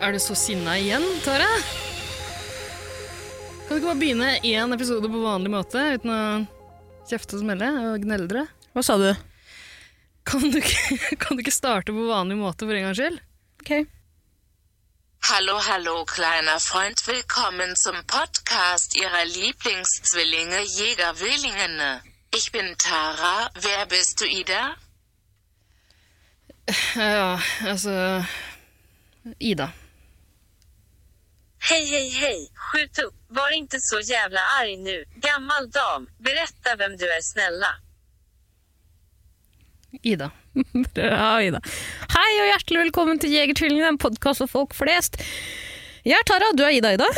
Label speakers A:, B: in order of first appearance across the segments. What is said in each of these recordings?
A: Er du så sinna igjen, Tara? Kan du ikke bare begynne én episode på vanlig måte uten å kjefte og smelle og gneldre?
B: Hva sa du?
A: Kan du ikke, kan du ikke starte på vanlig måte for en gangs skyld?
B: Ok.
C: Hallo, hallo, kleiner Freund, willkommen zum Podcast Ihrer Lieblingszwillinge Jägerwillingene. Ich bin Tara, wer bist du, Ida?
A: Ja, altså Ida.
D: Hej, hej, hej! Skjut upp! Var inte så jävla arg nu, gammal dam. Berätta vem du är, snälla.
A: Ida.
B: Bra, Ida. Hei og hjertelig velkommen til Jegertvillingene, en podkast for folk flest. Jeg er Tara, du er Ida, Ida.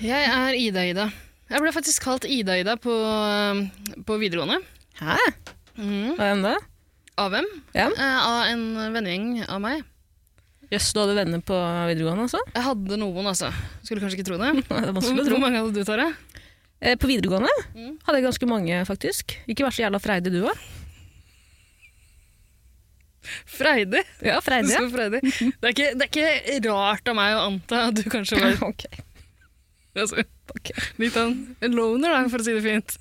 A: Jeg er Ida-Ida. Jeg ble faktisk kalt Ida-Ida på, eh, på videregående.
B: Hæ? Hvem da?
A: Av hvem?
B: Ja.
A: Eh, Av en vennegjeng av meg.
B: Jøss, du hadde venner på videregående, altså?
A: Jeg hadde noen, altså. Skulle kanskje ikke tro det.
B: Nei, det er
A: Hvor,
B: vanskelig å
A: hvor
B: tro.
A: mange hadde du, Tara?
B: Eh, På videregående hadde jeg ganske mange, faktisk. Ikke vær så jævla freidig, du òg.
A: Freidig.
B: Ja,
A: Du
B: freidig.
A: skal være freidig. Det er, ikke, det er ikke rart av meg å anta at du kanskje var
B: Ok.
A: altså, litt av en loner, da, for å si det fint.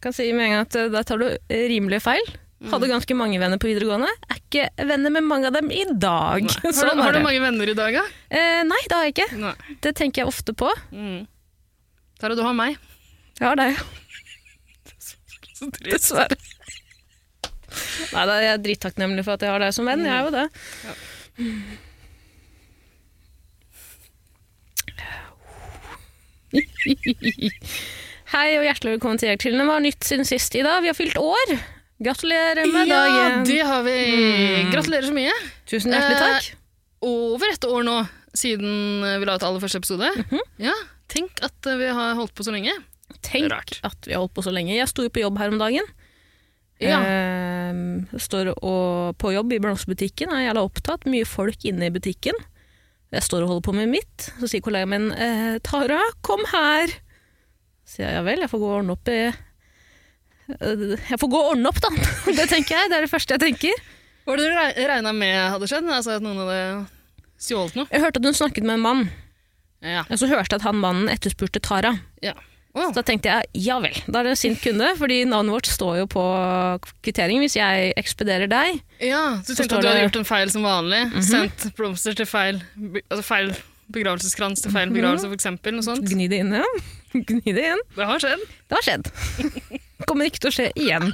B: Kan si med en gang at eh, der tar du eh, rimelig feil. Hadde ganske mange venner på videregående. Er ikke venner med mange av dem i dag.
A: Har,
B: Sånn
A: du,
B: er
A: har du
B: det.
A: mange venner i dag, da?
B: Eh, nei, det har jeg ikke.
A: Nei.
B: Det tenker jeg ofte på.
A: Mm. Tara, du har meg.
B: Jeg har deg.
A: Så trist.
B: Dessverre. Nei, da, jeg er drittakknemlig for at jeg har deg som venn. Jeg er jo det. Hei og hjertelig velkommen til Jegertvillingene. Hva er nytt siden sist, Ida? Vi har fylt år! Gratulerer med
A: Ja,
B: dagen.
A: det har vi. Gratulerer så mye.
B: Tusen hjertelig
A: Eh,
B: takk.
A: Over et år nå siden vi la ut aller første episode. Ja, Tenk at eh, vi har holdt på så lenge.
B: Tenk
A: rart.
B: at vi har holdt på så lenge. Jeg sto jo på jobb her om dagen.
A: Ja.
B: Eh, står og, på jobb i blomsterbutikken, er jævla opptatt. Mye folk inne i butikken. Jeg står og holder på med mitt. Så sier kollegaen min eh, 'Tara, kom her'. Så sier jeg ja vel, jeg får gå og ordne opp i eh, Jeg får gå og ordne opp, da! Det tenker jeg. Det er det første jeg tenker.
A: Hva var det du regna med hadde skjedd? Altså At noen hadde stjålet noe?
B: Jeg hørte at hun snakket med en mann,
A: Ja.
B: og så hørte jeg at han mannen etterspurte Tara.
A: ja. Wow.
B: Så da tenkte jeg ja vel, da er det en sint kunde, fordi navnet vårt står jo på kvitteringen. Hvis jeg ekspederer deg,
A: Ja, så du
B: Så
A: tenkte
B: står
A: at du hadde
B: det-
A: gjort en feil som vanlig. Sendt blomster til feil, be- altså feil begravelseskrans til feil begravelse, for eksempel. Noe sånt.
B: gni det inn igjen. Gni det inn.
A: Det har skjedd.
B: Det har skjedd. Kommer ikke til å skje igjen.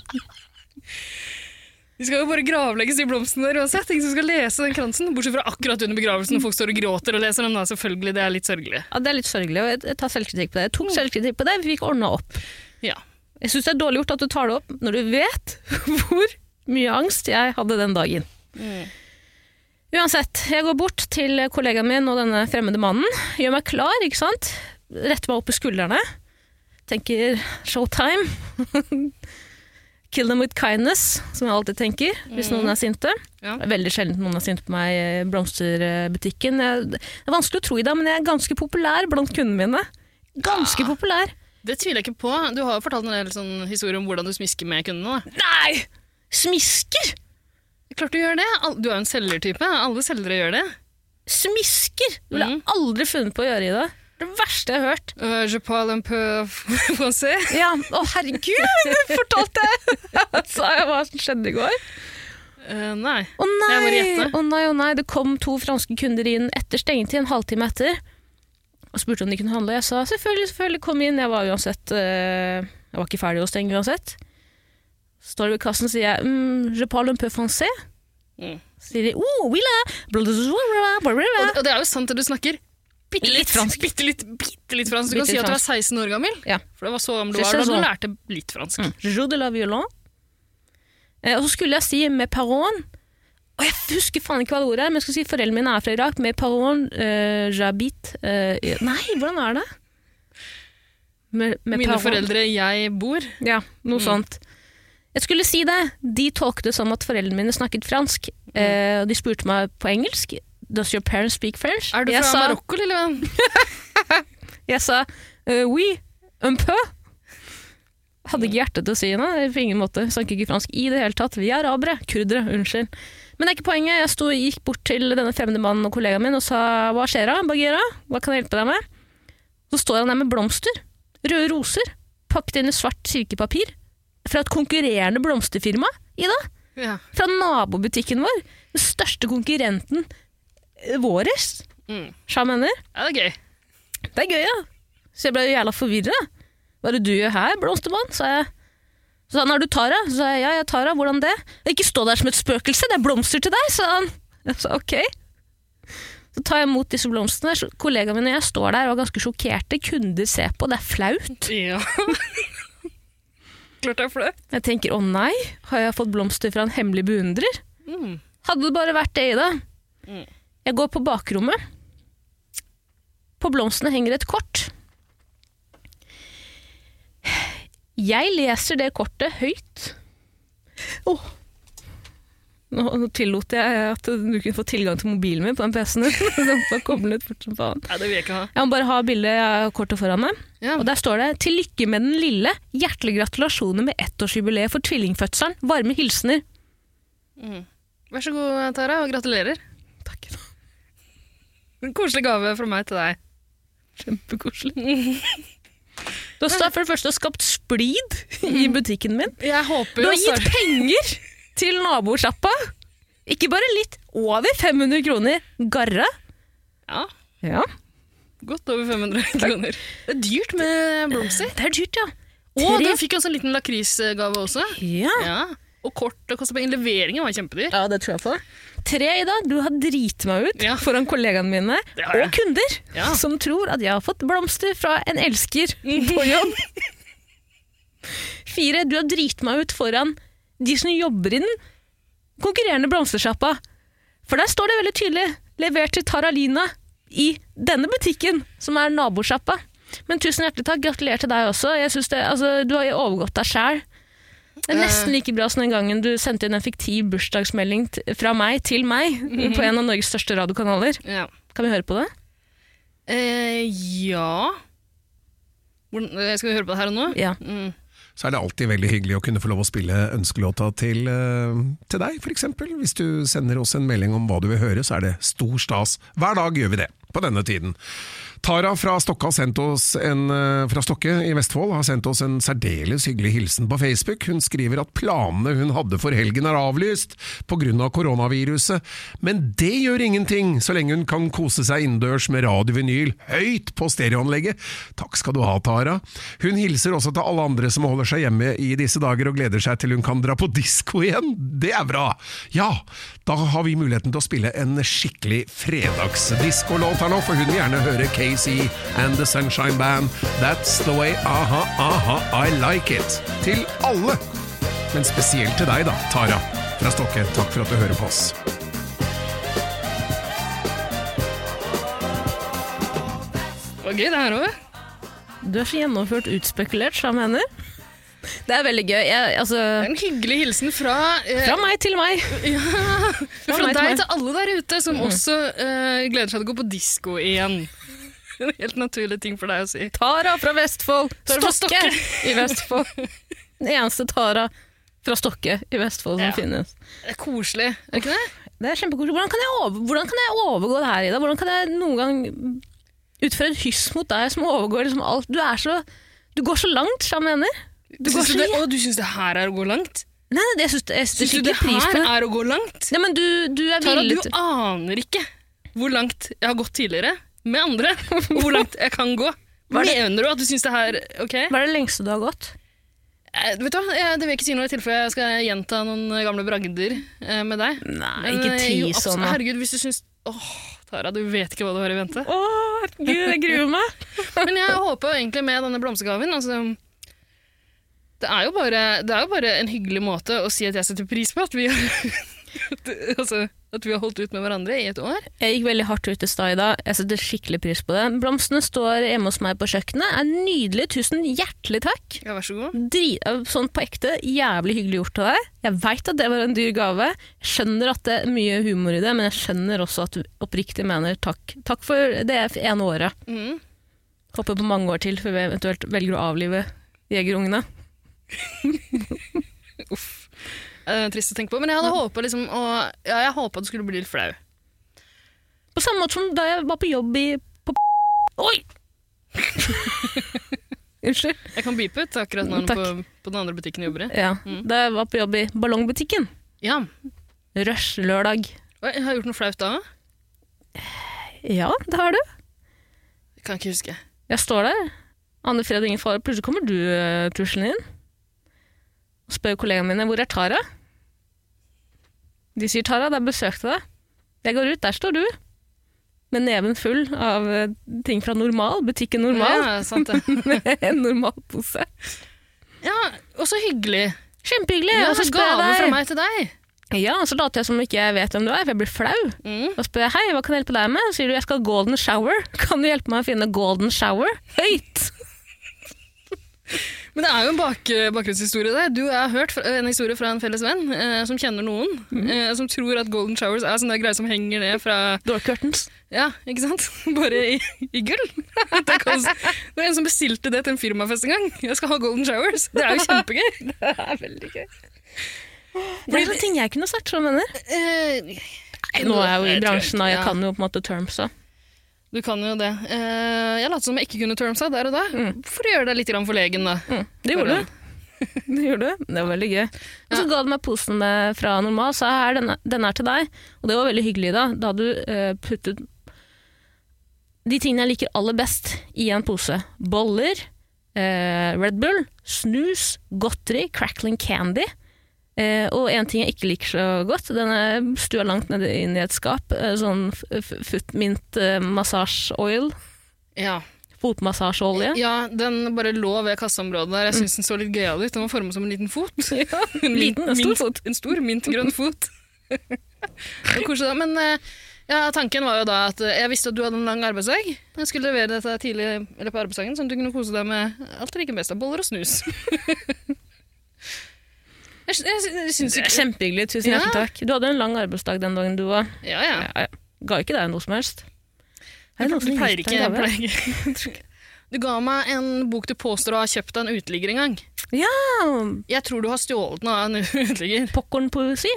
A: De skal jo bare gravlegges, de blomstene der uansett. Ingen som skal lese den kransen. Bortsett fra akkurat under begravelsen, når folk står og gråter og leser den. Da, selvfølgelig, det er litt sørgelig.
B: Ja, det er litt sørgelig, og jeg- jeg tar selvkritikk på det. Jeg tok selvkritikk på det, vi fikk ordna opp.
A: Ja.
B: Jeg syns det er dårlig gjort at du tar det opp når du vet hvor mye angst jeg hadde den dagen. Uansett, jeg går bort til kollegaen min og denne fremmede mannen. Gjør meg klar, ikke sant? Retter meg opp i skuldrene. Tenker showtime. Kill them with kindness, som jeg alltid tenker hvis noen er sinte.
A: Ja.
B: Det er Veldig sjelden noen er sinte på meg i blomsterbutikken. Jeg, det er vanskelig å tro i dag, men jeg er ganske populær blant kundene mine. Ganske populær.
A: Det tviler jeg ikke på. Du har jo fortalt en del sånn historier om hvordan du smisker med kundene. Da.
B: Nei! Smisker!
A: Klart du gjør det. Al- Du er jo en selgertype. Alle selgere gjør det.
B: Smisker!
A: Mm.
B: Det ville jeg aldri funnet på å gjøre i dag. Det verste jeg har hørt.
A: Uh, je parle un peu français.
B: Ja, Å, herregud! Det fortalte jeg! Sa jeg hva som skjedde i går?
A: Eh, nei.
B: Å nei!
A: Jeg må gjette.
B: Å nei, å nei. Det kom to franske kunder inn etter stengetid, en halvtime etter, og spurte om de kunne handle. Jeg sa selvfølgelig, selvfølgelig, kom inn. Jeg var uansett eh, Jeg var ikke ferdig å stenge uansett. Står ved kassen, sier jeg mm, Je parle un peu français.
A: Mm.
B: Sier de oh, oui, la, blablabla, blablabla.
A: Og, og det er jo sant at du snakker bitte litt,
B: Litt fransk.
A: Bitte litt, bitte litt fransk. Du kan
B: Bitte
A: si at du er
B: fransk.
A: 16 år gammel.
B: Ja.
A: For det var så gammel du
B: Det
A: var da
B: skjer
A: du
B: sånn.
A: lærte litt fransk.
B: Joue de la violon. Eh, og så skulle jeg si med paron Og jeg husker faen ikke hva det ordet er, men jeg skulle si foreldrene mine er fra Irak. Med paron eh, jabit eh, Nei, hvordan er det? Med, med
A: Mine
B: paron-
A: foreldre, Mm. jeg bor.
B: Ja, noe sånt. Jeg skulle si det. De tolket det som at foreldrene mine snakket fransk.
A: Mm.
B: eh, og de spurte meg på engelsk. Does your parents speak French?
A: Er du
B: jeg
A: fra
B: sa,
A: Marokko, lille venn?
B: Jeg sa eh, oui, un peu. Hadde ikke hjerte til å si noe. På ingen måte. Snakket ikke fransk i det hele tatt. Vi er arabere. Kurdere. Unnskyld. Men det er ikke poenget. Jeg sto, gikk bort til denne fremmede mannen og kollegaen min og sa hva skjer da, Bagheera? Hva kan jeg hjelpe deg med? Så står han der med blomster. Røde roser. Pakket inn i svart silkepapir. Fra et konkurrerende blomsterfirma, Ida.
A: Ja.
B: Fra nabobutikken vår. Den største konkurrenten eh, våres.
A: Mm.
B: Sjamener.
A: ja, det er gøy.
B: Det er gøy, ja. Så jeg ble jo jævla forvirra. Hva er det du gjør her, blomstermann? sa jeg. Så sa han, er du Tara? Så sa jeg, ja, jeg er Tara, hvordan det? Ikke stå der som et spøkelse, det er blomster til deg, sa han. Jeg sa ok. Så tar jeg imot disse blomstene. så Kollegaene mine og jeg står der og er ganske sjokkerte. Kunder ser på, det er flaut.
A: Ja. Klart det er flaut.
B: Jeg tenker å nei, har jeg fått blomster fra en hemmelig beundrer?
A: Mm.
B: Hadde det bare vært det, Ida. Jeg går på bakrommet. På blomstene henger et kort. Jeg leser det kortet høyt. Åh. Nå, nå tillot jeg at du kunne få tilgang til mobilen min på den PC-en din. Den var koblet fort som faen.
A: Nei, det vil jeg ikke ha.
B: Jeg må bare ha bildet av kortet foran meg.
A: Ja.
B: Og der står det 'Til lykke med den lille. Hjertelig gratulasjoner med ettårsjubileet for tvillingfødselen. Varme hilsener'.
A: Vær så god, Tara, og gratulerer.
B: Takk.
A: En koselig gave fra meg til deg.
B: Kjempekoselig. Du har sta- for det første skapt splid i butikken min.
A: Jeg håper
B: Du
A: jo
B: har gitt
A: snart-
B: penger til nabosjappa. Ikke bare litt, over 500 kroner. Garra.
A: Ja,
B: Ja.
A: godt over 500 kroner. Det er dyrt med blomster.
B: Det er dyrt, ja.
A: Og du
B: Tre-
A: fikk jo også en liten lakrisgave også.
B: ja.
A: Ja. Og kort, det kostet penger. Leveringen var kjempedyr.
B: ja, det tror jeg på. Tre, Ida. Du har driti meg ut
A: Ja.
B: foran kollegaene mine
A: Det har
B: og
A: jeg.
B: kunder
A: Ja.
B: som tror at jeg har fått blomster fra en elsker på jobb. Fire, du har driti meg ut foran de som jobber i den konkurrerende blomstersjappa. For der står det veldig tydelig 'levert til Taralina' i denne butikken, som er nabosjappa. Men tusen hjertelig takk. Gratulerer til deg også. Jeg synes det, altså, du har jo overgått deg sjæl. Det er nesten like bra som den gangen du sendte inn en fiktiv bursdagsmelding t fra meg til meg på en av Norges største radiokanaler.
A: Ja.
B: Kan vi høre på det?
A: Eh, ja. Hvordan, eh, skal vi høre på det her og nå?
B: Ja.
A: Mm.
E: så er det alltid veldig hyggelig å kunne få lov å spille ønskelåta til, eh, til deg, f.eks. Hvis du sender oss en melding om hva du vil høre, så er det stor stas. Hver dag gjør vi det, på denne tiden. Tara fra Stokke, har sendt oss en, eh, fra Stokke i Vestfold har sendt oss en særdeles hyggelig hilsen på Facebook. Hun skriver at planene hun hadde for helgen er avlyst pga. koronaviruset, men det gjør ingenting så lenge hun kan kose seg innendørs med radiovinyl høyt på stereoanlegget. Takk skal du ha, Tara. Hun hilser også til alle andre som holder seg hjemme i disse dager og gleder seg til hun kan dra på disko igjen. Det er bra! Ja, da har vi muligheten til å spille en skikkelig fredagsdiskolåt her nå, for hun vil gjerne høre KC and The Sunshine Band. That's the way, aha, aha, I like it. Til alle! Men spesielt til deg, da, Tara fra Stokke. Takk for at du hører på oss.
A: Det var gøy, det her òg.
B: Du er så gjennomført utspekulert, sa hender. Det er veldig gøy. Jeg, altså,
A: En hyggelig hilsen fra eh,
B: fra meg til meg.
A: Fra
B: meg til
A: deg
B: meg.
A: til alle der ute som
B: Mhm.
A: også eh, gleder seg til å gå på disko igjen. En helt naturlig ting for deg å si.
B: Tara fra Vestfold.
A: Tara fra
B: Stokke i Vestfold. Den eneste Tara fra Stokke i Vestfold som
A: Ja.
B: finnes.
A: Det er koselig, er det ikke det?
B: Det er kjempekoselig. Hvordan, kan jeg over- hvordan kan jeg overgå det her, Ida? Hvordan kan jeg noen gang utføre et hyss mot deg som overgår liksom alt? Du er så Du går så langt, sa jeg mener. Du går
A: Syns du
B: så
A: det?
B: langt.
A: Å, du syns det her er å gå langt?
B: Nei, nei, jeg syns jeg
A: Syns du
B: setter
A: det
B: ikke pris
A: her
B: på det.
A: er å gå langt?
B: Nei, men du, du er
A: Tara,
B: villig
A: du
B: til
A: aner ikke hvor langt jeg har gått tidligere med andre. og Hvor langt jeg kan gå.
B: Hva er det-
A: Mener du at du syns det her Ok?
B: Hva er det lengste du har gått?
A: Eh, vet du hva, eh, Det vil jeg ikke si noe i tilfelle jeg skal gjenta noen eh, gamle bragder eh, med deg.
B: Nei,
A: Men,
B: ikke
A: eh,
B: ti
A: jo, absolutt-
B: sånne.
A: Herregud, hvis du syns Åh, Tara, du vet ikke hva du har i vente.
B: Å, herregud, jeg gruer meg.
A: Men jeg håper jo egentlig med denne blomstergaven altså, det, er jo bare, det er jo bare en hyggelig måte å si at jeg setter pris på at vi har Det- altså, at vi har holdt ut med hverandre i et år.
B: Jeg gikk veldig hardt ut i stad i dag. Jeg setter skikkelig pris på det. Blomstene står hjemme hos meg på kjøkkenet. Er nydelig. Tusen hjertelig takk.
A: Ja, vær så god.
B: Dri- eh, sånn på ekte, jævlig hyggelig gjort av deg. Jeg veit at det var en dyr gave. Jeg skjønner at det er mye humor i det, men jeg skjønner også at du oppriktig mener takk. Takk for det ene året.
A: Mhm.
B: Håper på mange år til før vi eventuelt velger å avlive jegerungene.
A: Uff. Eh, trist å tenke på. Men jeg hadde håpa liksom, å- ja, jeg håpet det skulle bli litt flau.
B: På samme måte som da jeg var på jobb i på Oi! Unnskyld.
A: Jeg kan beepe ut akkurat når han
B: Mm, Takk.
A: på, på den andre butikken jeg jobber i.
B: Ja, Da jeg var på jobb i ballongbutikken.
A: Ja.
B: Rush lørdag.
A: Oi, jeg har jeg gjort noe flaut da òg?
B: Ja, det har du.
A: Kan ikke huske.
B: Jeg står der. Anne Fred og ingen fare. Plutselig kommer du uh, tuslende inn. Og spør kollegaene mine hvor er Tara. De sier Tara, der besøkte deg. Jeg går ut, der står du. Med neven full av eh, ting fra normal, butikken normal.
A: Ja, sant det.
B: Med en normal pose.
A: Ja, og så hyggelig.
B: Kjempehyggelig!
A: Ja,
B: og så spør
A: gave fra
B: jeg deg.
A: meg til deg.
B: Ja, og så later jeg som ikke jeg vet hvem du er, for jeg blir flau.
A: Mm.
B: Og spør jeg hei, hva kan jeg hjelpe deg med? Så sier du jeg skal ha golden shower. Kan du hjelpe meg å finne golden shower? Høyt!
A: Men det er jo en bak, eh, bakgrunnshistorie der. Du har hørt fra, en historie fra en felles venn eh, som kjenner noen, eh, som tror at golden showers er sånne greier som henger ned fra
B: Door curtains.
A: Ja, ikke sant? Bare i, i gull. Det, kan, det var en som bestilte det til en firmafest en gang. Jeg skal ha golden showers. Det er jo kjempegøy.
B: Det er veldig gøy. Det er sånne ting jeg kunne sagt, som venner.
A: Eh,
B: Nå er jeg jo i
A: jeg tror
B: bransjen, og jeg
A: ikke, ja.
B: kan jo på en måte terms òg.
A: Du kan jo det. Eh, jeg lot som jeg ikke kunne termsa der og da, for å gjøre deg litt grann forlegen, da.
B: Det gjorde du. Det gjorde du. Det var veldig gøy. Og så ga du meg posen med fra normal, sa her, denne, denne er til deg. Og det var veldig hyggelig da. Da hadde du eh, puttet de tingene jeg liker aller best i en pose. Boller, eh, Red Bull, snus, godteri, crackling candy. Eh, og en ting jeg ikke liker så godt, den er stua langt nede inn i et skap. Eh, sånn f- f- footmint eh, massage oil.
A: Ja.
B: Fotmassasjeolje.
A: ja, den bare lå ved kasseområdet der. Jeg syns den så litt gøyal ut. Den var formet som en liten fot. En
B: Mm. liten, en stor
A: fot. En stor, mintgrønn fot. det var koselig, da. Men eh, ja, tanken var jo da at eh, jeg visste at du hadde en lang arbeidsdag. Jeg skulle levere dette tidlig eller på arbeidsdagen, sånn at du kunne kose deg med alt det like best av boller og snus. jeg sy- jeg, sy- jeg syns
B: Det er
A: ikke
B: Kjempehyggelig. Tusen
A: Ja.
B: hjertelig takk. Du hadde en lang arbeidsdag den dagen du var
A: Ja, ja.
B: ja, ja. Ga ikke deg noe som helst. Er det noen
A: Du
B: som har
A: pleier
B: gitt
A: ikke,
B: deg
A: jeg
B: en gave?
A: pleier ikke. Jeg tror ikke. Du ga meg en bok du påstår å ha kjøpt av en uteligger en gang.
B: Ja,
A: Jeg tror du har stjålet den av en uteligger.
B: popkornpoesi.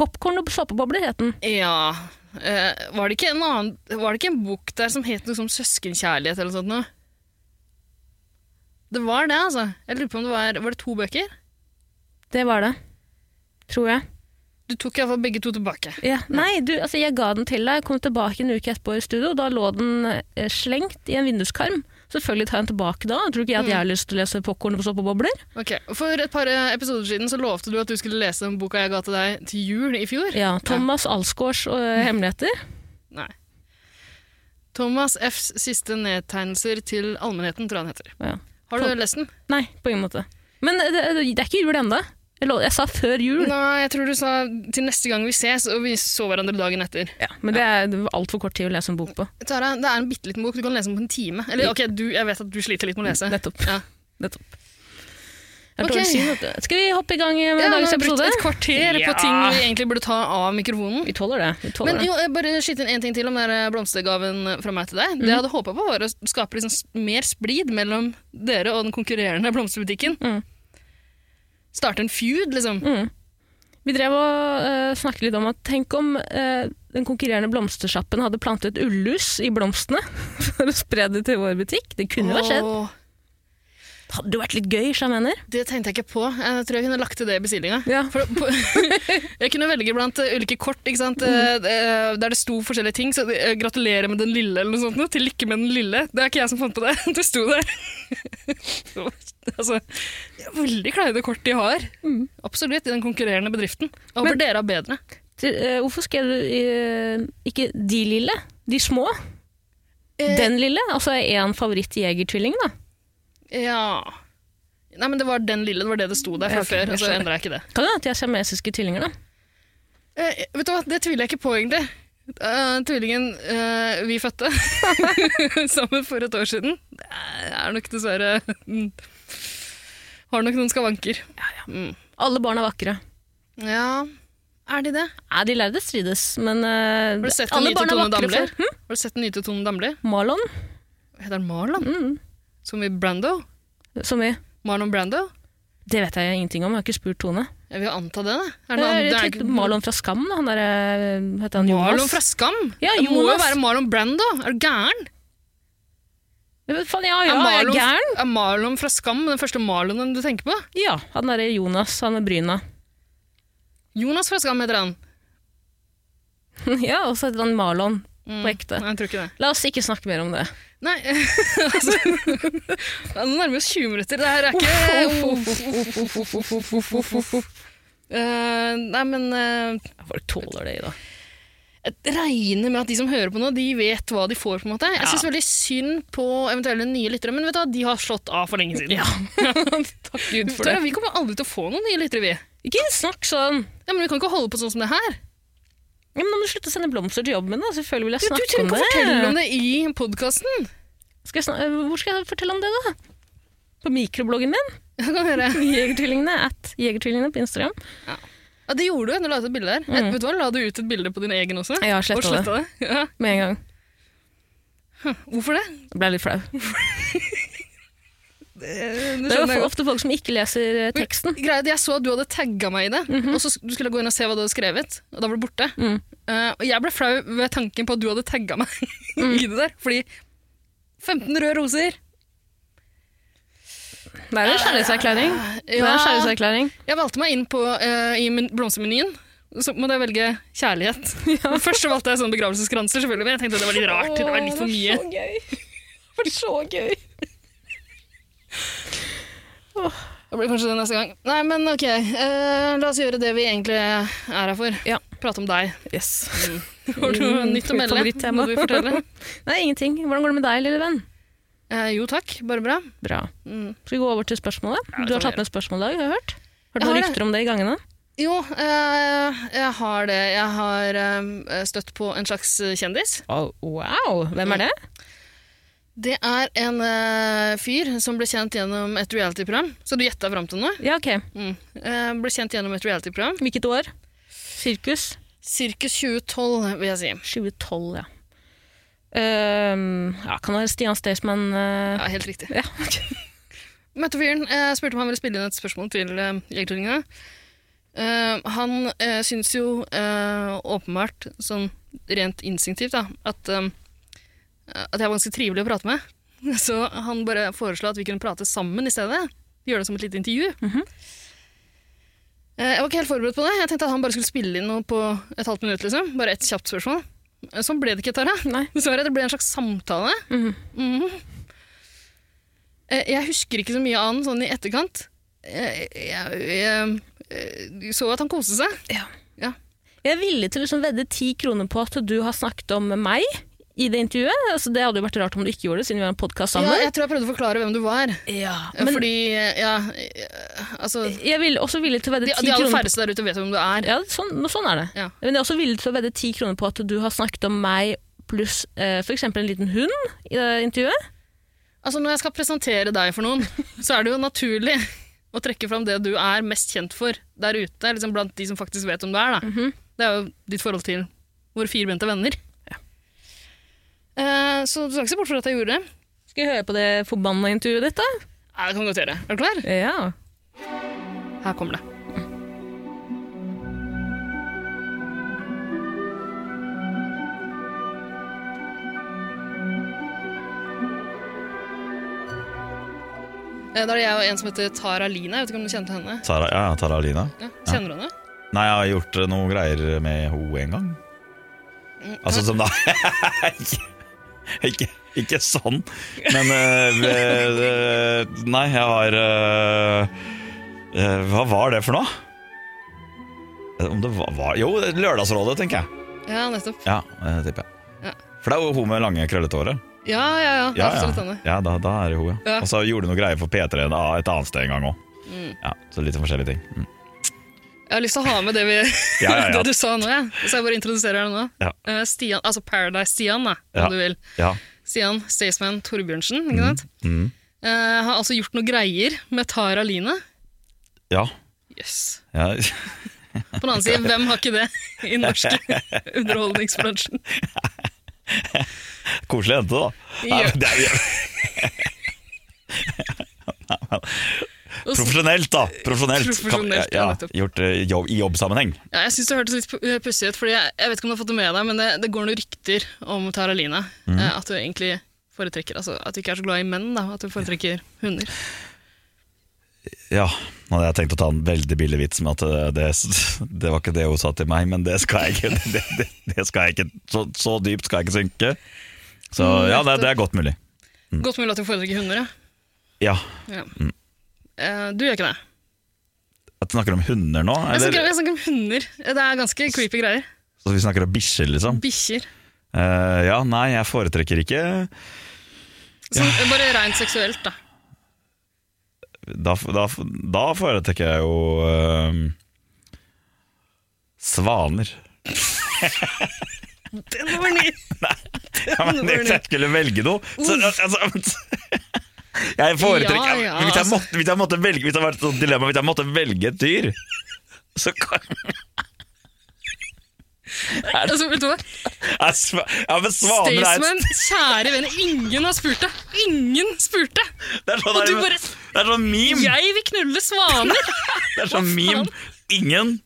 B: Popkorn og såpebobler het den.
A: Ja. Eh, var, det ikke en annen, var det ikke en bok der som het noe som søskenkjærlighet eller noe sånt? Noe? Det var det, altså. Jeg lurer på om det Var var det to bøker?
B: Det var det. Tror jeg.
A: Du tok iallfall begge to tilbake.
B: Ja. Nei, du, altså jeg ga den til deg, kom tilbake en uke etterpå i studio, og da lå den eh, slengt i en vinduskarm. Selvfølgelig tar jeg den tilbake da. Tror ikke jeg at jeg har lyst til å lese popkorn og såpebobler?
A: Ok, For et par eh, episoder siden så lovte du at du skulle lese den boka jeg ga til deg til jul i fjor.
B: Ja. Thomas Alsgaards eh, hemmeligheter.
A: Nei. Thomas Fs siste nedtegnelser til allmennheten, tror jeg han heter.
B: Ja.
A: Har du
B: Tom-
A: lest den?
B: Nei, på ingen måte. Men det, det, det er ikke jul ennå. Jeg, lo- jeg sa før jul.
A: Nei, jeg tror du sa til neste gang vi ses, og vi så hverandre dagen etter.
B: Ja, men det er altfor kort tid å lese en bok på.
A: Tara, det er en bitte liten bok, du kan lese den på en time. Eller ok, du, jeg vet at du sliter litt med å lese.
B: Nettopp.
A: Ja.
B: Nettopp. Jeg har
A: Ok.
B: dårlig syn, vet du. Skal vi hoppe i gang med
A: Ja, nå
B: dagens
A: har vi brukt
B: episode?
A: et kvarter på ting vi egentlig burde ta av mikrofonen.
B: Vi tåler det. Vi tåler
A: Men
B: det.
A: jo, jeg bare skyte inn en ting til om den der blomstergaven fra meg til deg. Det jeg
B: Mhm.
A: hadde håpet på var å skape liksom s- mer splid mellom dere og den konkurrerende blomsterbutikken.
B: Mm.
A: Starte en feud, liksom.
B: Vi drev og eh, snakket litt om at tenk om eh, den konkurrerende blomstersjappen hadde plantet ullus i blomstene for å spre det til vår butikk. Det kunne jo ha skjedd.
A: Åh,
B: Det hadde jo vært litt gøy, som jeg mener.
A: det tenkte jeg ikke på. Jeg tror jeg kunne lagt til det i bestillinga.
B: Ja.
A: For, på, jeg kunne velge blant eh, ulike kort ikke
B: Mm.
A: sant? Eh, eh, der det sto forskjellige ting. Så eh, 'Gratulerer med den lille' eller noe sånt. noe, Til lykke med den lille. Det er ikke jeg som fant på det. Det sto der. Det var- altså, det er veldig kleine kort de har.
B: Mm.
A: Absolutt, i den konkurrerende bedriften. Jeg håper dere har bedre.
B: Til, eh, hvorfor skrev du eh, ikke de lille, de små?
A: Eh.
B: Den lille? Altså én favorittjegertvilling, da.
A: Ja Nei, men det var den lille. Det var det det sto der fra
B: Ja, ok,
A: før. Og så
B: jeg skjønner.
A: endra jeg ikke det.
B: Kan jo hende at de er siamesiske tvillinger, da.
A: Eh, vet du hva, det tviler jeg ikke på, egentlig. Eh, tvillingen eh, vi fødte sammen for et år siden, det er nok dessverre mm, Har nok noen skavanker.
B: Alle barn er vakre.
A: Ja, er de det?
B: Nei, de lærde strides, men eh,
A: Har du sett den
B: alle
A: nye til
B: barn er
A: Tone
B: vakre
A: Damli?
B: før. Hm?
A: Har du sett den nye til Tone Damli?
B: Marlon,
A: Heter han Marlon?
B: Mm.
A: Som i Brando?
B: som i
A: Marlon Brando?
B: Det vet jeg ingenting om, jeg har ikke spurt Tone.
A: Jeg vil jo anta det, da. Er det
B: Det
A: noe
B: er
A: annet? Det er
B: litt
A: ikke-
B: Marlon fra Skam, da. Han der, eh, heter han Jonas?
A: Marlon fra Skam?
B: Ja,
A: det må jo
B: Jonas.
A: være Marlon Brando! Er du gæren?
B: Ja, men faen, ja,
A: er,
B: ja, jeg er
A: Marlon,
B: gæren.
A: er Marlon fra Skam den første Marlonen du tenker på?
B: Ja, han derre Jonas, han med bryna.
A: Jonas fra Skam heter han.
B: ja, og så heter han Marlon
A: Mm.
B: på ekte.
A: Nei, jeg tror ikke det.
B: La oss ikke snakke mer om det.
A: Nei, altså ja, Nå nærmer vi oss 20 minutter. Det her er ikke Eh, Nei, men eh,
B: Folk tåler det, da.
A: jeg regner med at de som hører på nå, de vet hva de får. på en måte. Jeg syns veldig synd på eventuelle nye lyttere, men vet du hva, de har slått av for lenge siden.
B: Takk Gud for
A: Tara,
B: det.
A: vi kommer aldri til å få noen nye lyttere, vi.
B: Ikke snakk sånn.
A: Ja, men vi kan ikke holde på sånn som det her.
B: Ja, men Nå må du slutte å sende blomster til jobben. da, Selvfølgelig vil jeg
A: Du
B: snakke
A: trenger
B: om,
A: ikke å
B: det.
A: fortelle om det i podkasten.
B: Skal jeg snak eh, Hvor skal jeg fortelle om det, da? På mikrobloggen min?
A: Jeg kan høre.
B: Jegertvillingene at Jegertvillingene på Instagram.
A: Ja, det gjorde du når du la ut et bilde der.
B: Mm.
A: Vet du hva, La du ut et bilde på din egen også?
B: Jeg har
A: og
B: sletta det
A: sletta det. Ja.
B: med en gang.
A: Hvorfor det?
B: Det ble litt flau.
A: Det
B: Det er
A: Eh, skjønner
B: jo
A: jeg godt.
B: ofte folk som ikke leser eh, teksten.
A: Greia er at Jeg så at du hadde tagga meg i det, og så sk- du skulle gå inn og se hva du hadde skrevet. Og da var det borte.
B: Mhm. Mm.
A: Eh, og jeg ble flau ved tanken på at du hadde tagga meg
B: Mm.
A: i det der. Fordi 15 røde roser
B: Det er en kjærlighetserklæring. Det er en kjærlighetserklæring.
A: Jeg valgte meg inn på, eh, i men- blomstermenyen. Så måtte jeg velge kjærlighet. Først så valgte jeg sånn begravelseskranser, selvfølgelig, men jeg tenkte det var litt rart. Det var litt for mye.
B: så gøy. Det var så gøy.
A: Det blir kanskje det neste gang. Nei, men ok. eh, la oss gjøre det vi egentlig er her for.
B: Ja.
A: Prate om deg. Mm.
B: Yes.
A: Har du noe nytt å melde?
B: Favorittema.
A: Noe du vil fortelle?
B: Nei, ingenting. Hvordan går det med deg, lille venn?
A: Eh, jo takk, bare bra.
B: Bra.
A: Mm.
B: Skal vi gå over til spørsmålet?
A: det kan
B: du har
A: vi
B: tatt med et spørsmål i dag, har jeg hørt.
A: Jeg
B: Har du noen
A: har det.
B: rykter om det i gangene?
A: Jo, eh, jeg har det. Jeg har eh, støtt på en slags kjendis.
B: wow! Hvem er det?
A: Det er en eh, fyr som ble kjent gjennom et reality-program. Så du gjetta fram til noe?
B: Ja, ok.
A: Mm. Eh, ble kjent gjennom et reality-program.
B: Hvilket år? Sirkus?
A: Sirkus 2012, vil jeg si.
B: 2012, ja. Ehm, ja, kan det være Stian Staysman eh,
A: Ja, helt riktig.
B: Ja.
A: Møtte fyren, eh, spurte om han ville spille inn et spørsmål til eh, Jegertvillingene. Eh, han eh, syns jo eh, åpenbart, sånn rent instinktivt, da, at, eh, at jeg var ganske trivelig å prate med. Så han bare foreslo at vi kunne prate sammen i stedet. Gjøre det som et lite intervju.
B: Mhm.
A: Eh, jeg var ikke helt forberedt på det. Jeg tenkte at han bare skulle spille inn noe på et halvt minutt. liksom. Bare et kjapt spørsmål. Eh, Sånn ble det ikke, Tara.
B: Nei.
A: Dessverre, det ble en slags samtale.
B: Mhm.
A: Mhm. Eh, Jeg husker ikke så mye av den sånn i etterkant. Eh, Jeg, jeg, jeg så at han koste seg.
B: Jeg er villig til å liksom vedde ti kroner på at du har snakket om meg i det intervjuet. Altså, det hadde jo vært rart om du ikke gjorde det, siden vi har en podkast
A: Ja,
B: sammen.
A: jeg tror jeg prøvde å forklare hvem du var. Eh,
B: men
A: Fordi, ja, eh, altså de,
B: jeg vil også villig til å vedde
A: de
B: ti
A: aller
B: kroner på
A: færreste der ute vet hvem du er.
B: ja, sånn, nå- sånn er det.
A: Ja.
B: Men jeg er også villig til å vedde ti kroner på at du har snakket om meg pluss eh, f.eks. en liten hund i det intervjuet.
A: Altså Når jeg skal presentere deg for noen, så er det jo naturlig å trekke fram det du er mest kjent for der ute, liksom blant de som faktisk vet hvem du er. Da. Det er jo ditt forhold til våre firbente venner. Eh, så du skal ikke se bort fra at jeg gjorde det.
B: Skal jeg høre på det forbanna intervjuet ditt, da?
A: Ja, det kan vi godt gjøre. Er du klar?
B: Ja.
A: Her kommer det. Eh, Da er det jeg og en som heter Tara Lina. Jeg vet ikke om du kjente henne?
F: Tara, ja, Tara Alina.
A: Ja, kjenner du henne?
F: Nei, jeg har gjort eh, noe greier med henne en gang.
A: Mm,
F: Altså som da ikke, ikke, ikke sånn, men eh, eh, Nei, jeg har eh, eh, Hva var det for noe? Eh, Om det var, var Jo, Lørdagsrådet, tenker jeg.
A: Ja, nettopp.
F: Ja, eh, tipper jeg.
A: Ja.
F: For det er jo hun med lange, krøllete håret.
A: Ja, ja, ja.
F: Ja,
A: absolutt
F: ja.
A: henne.
F: ja da, da er det hun, ja.
A: Ja.
F: Og så gjorde hun noe greier for P3 en- et annet sted en gang òg. Ja, så litt forskjellige ting. Mm.
A: Jeg har lyst til å ha med det, vi,
F: Ja, ja, ja.
A: det du sa nå, jeg. Så jeg bare introduserer deg nå.
F: Ja.
A: Eh, Stian, altså Paradise-Stian, da, om
F: Ja.
A: du vil.
F: Ja.
A: Stian Staysman Torbjørnsen, ikke sant?
F: Mm.
A: Eh, har altså gjort noen greier med Tara Line.
F: Ja.
A: Yes.
F: ja.
A: På den annen side, hvem har ikke det i den norske underholdningsbransjen?
F: Koselig jente, da. Nei,
A: Ja.
F: men det er,
A: Og så-
F: profesjonelt, da. Profesjonelt.
A: Profesjonelt, ja,
F: ja, ja,
A: nettopp.
F: gjort eh, jobb, i jobbsammenheng.
A: Ja, jeg syns det hørtes litt pu- eh, pussig ut, fordi jeg, jeg vet ikke om du har fått det med deg, men det, det går noen rykter om Tara Line.
F: Mm.
A: eh, At hun egentlig foretrekker altså, At hun ikke er så glad i menn, da. At hun foretrekker hunder.
F: Ja, nå hadde jeg tenkt å ta en veldig billig vits med at eh, det, det, det var ikke det hun sa til meg, men det skal jeg ikke. Det, det, det skal jeg ikke så, så dypt skal jeg ikke synke. Så
A: Mm,
F: ja, det, det er godt mulig. Mm.
A: Godt mulig at hun foretrekker hunder, ja.
F: Ja,
A: ja. Eh, du gjør ikke det.
F: at vi snakker om hunder nå?
A: Jeg snakker,
F: Eller,
A: jeg snakker om hunder. Det er ganske creepy greier.
F: så vi snakker om bikkjer, liksom?
A: Bikkjer.
F: Eh, ja, nei, jeg foretrekker ikke
A: Sånn, Bare rent seksuelt, da.
F: Da, da, da foretrekker jeg jo eh, svaner.
A: Den var ny!
F: Ja, men
A: Hvorfor
F: hvis jeg
A: det?
F: skulle velge noe så, altså, Jeg
A: Ja,
F: foretrekker
A: ja,
F: hvis, jeg
A: altså.
F: måtte, hvis jeg måtte velge Hvis det var et sånt dilemma Hvis jeg måtte velge et dyr Så kan
A: Altså, vet du hva?
F: er sva- Ja, men svaner er
A: Staysman, kjære venn, ingen har spurt deg! Ingen spurte!
F: Det er sånn,
A: Og
F: der,
A: du bare-
F: det er sånn meme
A: Jeg vil knulle svaner!
F: Det er sånn meme Ingen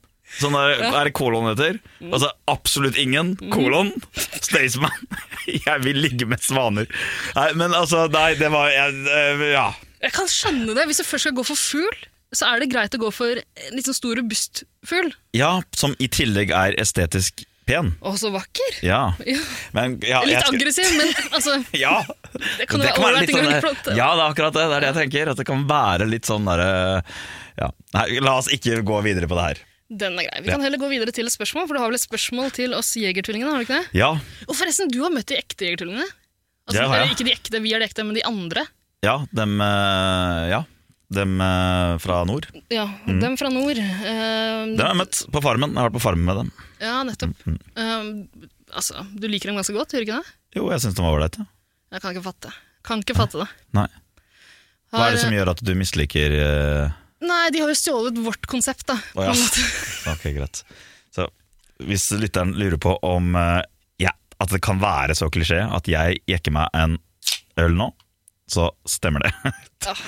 F: Sånn der, er det kolon heter
A: Mm.
F: Altså absolutt ingen Kolon Staysman Jeg vil ligge med svaner Nei, men altså Nei, det var jeg, eh, Ja
A: Jeg kan skjønne det. Hvis du først skal gå for fugl, så er det greit å gå for en litt sånn stor, robust fugl.
F: Ja, som i tillegg er estetisk pen
A: Å, så vakker!
F: Ja
A: Ja.
F: Men, ja, jeg
A: Litt
F: skulle-
A: aggressiv, men altså
F: Ja,
A: Det kan jo være ålreit i
F: sånn der-
A: grunnplate.
F: Ja, det er akkurat det. Det er det jeg tenker. At det kan være litt sånn derre ja. Nei, la oss ikke gå videre på det her.
A: Den er grei. Vi kan heller gå videre til et spørsmål, for du har vel et spørsmål til oss jegertvillingene? har du ikke det?
F: Ja,
A: Og forresten, du har møtt de ekte jegertvillingene. Altså,
F: Det har jeg.
A: eller Ikke de ekte, vi er de ekte, men de andre.
F: ja, dem eh, Ja, dem eh, fra nord.
A: Ja,
F: Mm.
A: Dem fra nord. Eh,
F: Dem har jeg møtt på Farmen. Jeg har vært på Farmen med dem.
A: Ja, nettopp.
F: Mm,
A: Eh, altså, du liker dem ganske godt, gjør du ikke det?
F: Jo, jeg syns de var ålreite.
A: Jeg kan ikke fatte. Kan ikke fatte det.
F: Nei. Hva
A: Har-
F: er det som gjør at du misliker eh,
A: Nei, de har jo stjålet vårt konsept, da. på
F: Å ja.
A: en måte.
F: Ok, greit. Så hvis lytteren lurer på om eh, ja, at det kan være så klisjé at jeg jekker meg en øl nå, så stemmer det.
A: Ja.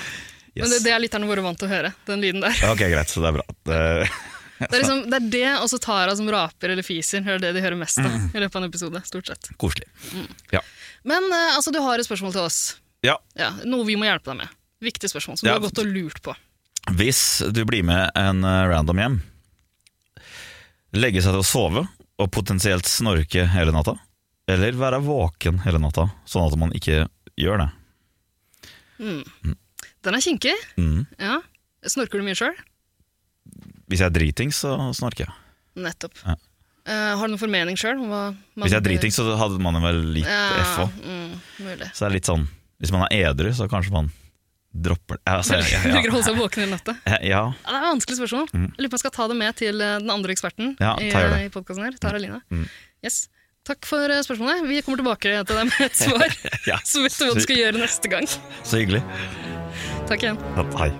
A: Men
F: Yes.
A: det, det er lytterne våre vant til å høre, den lyden der.
F: Ok, greit, så det er bra. Eh, Det-
A: Det er, liksom, det, er det og så Tara som raper eller fiser, det er det de hører mest av
F: Mm.
A: i løpet av en episode. stort sett.
F: Koselig.
A: Men eh, altså, du har et spørsmål til oss.
F: Ja.
A: Ja, noe vi må hjelpe deg med. Viktig spørsmål som
F: Ja.
A: du har gått og lurt på.
F: Hvis du blir med en eh, random hjem, legge seg til å sove og potensielt snorke hele natta, eller være våken hele natta, sånn at man ikke gjør det.
A: Den er kinkig.
F: Mm.
A: Ja. Snorker du mye sjøl?
F: Hvis jeg er dritings, så snorker jeg.
A: Nettopp.
F: Ja.
A: Eh, har du noen formening sjøl?
F: Hvis jeg er dritings, så hadde man vel litt FH.
A: ja, mm, mulig.
F: Så det er litt sånn, hvis man er edru, så kanskje man dropper det. Ja, Altså, ja,
A: Velger å holde seg våken hele natta.
F: ja, ja,
A: Ja, det er et vanskelig spørsmål. Jeg Lurer på om jeg skal ta det med til eh, den andre eksperten
F: Ja,
A: i, eh,
F: ta gjør det. Mm.
A: i podkasten her. Tara Line. Yes. Takk for eh, spørsmålet. Vi kommer tilbake til deg med et svar.
F: Ja.
A: Så vet du hva du skal gjøre neste gang.
F: så hyggelig.
A: Takk igjen.
F: Ja, Hei.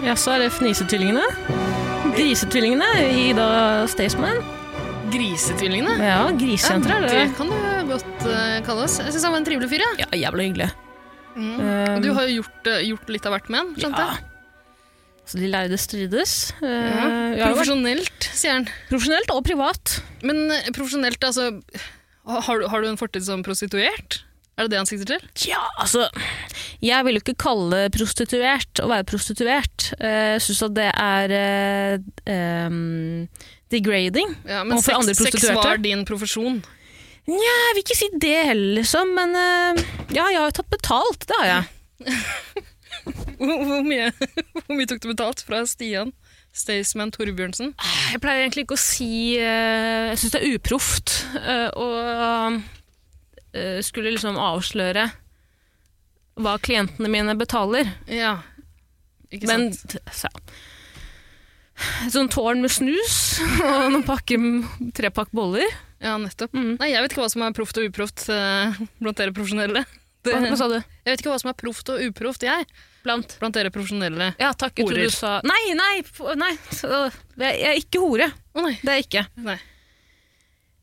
B: Jaså, er det fnisetvillingene? Grisetvillingene i da Staysman?
A: Grisetvillingene.
B: Ja,
A: Ja,
B: grisejenter er det.
A: det kan du godt eh, kalle oss. Jeg syns han var en trivelig fyr. Ja.
B: Ja, jævla hyggelig.
A: Mm.
B: Um,
A: Og Du har jo gjort, eh, gjort litt av hvert med han, skjønte jeg.
B: Så de lærde strides. Eh, jeg har jo vært
A: Profesjonelt, sier han.
B: profesjonelt og privat.
A: Men eh, profesjonelt, altså har, du- har du en fortid som prostituert? Er det det han sikter til?
B: Tja, altså Jeg vil jo ikke kalle prostituert å være prostituert. Eh, Jeg syns at det er eh, em, degrading.
A: Ja, men
B: Overfor
A: sex,
B: andre
A: sex
B: prostituerte?
A: var din profesjon.
B: Nja, jeg vil ikke si det heller, liksom, men eh, ja, jeg har jo tatt betalt, det har jeg.
A: Hvor, hvor, mye, hvor mye tok du betalt fra Stian Staysman Torbjørnsen?
B: Jeg pleier egentlig ikke å si eh, Jeg syns det er uproft eh, å eh, skulle liksom avsløre hva klientene mine betaler.
A: Ja, ikke
B: Men
A: sant?
B: så, Et sånt tårn med snus og noen pakker, trepakk boller.
A: Ja, nettopp.
B: Mm.
A: Nei, jeg vet ikke hva som er proft og uproft eh, blant dere profesjonelle. Det,
B: Hva, hva
A: jeg
B: sa du?
A: vet ikke hva som er proft og uproft, jeg,
B: Blant?
A: blant dere profesjonelle.
B: Ja, takk. Jeg trodde
A: Horer.
B: du sa Nei, nei! f- nei. så- Jeg er ikke hore.
A: Å nei.
B: Det er jeg ikke.
A: nei.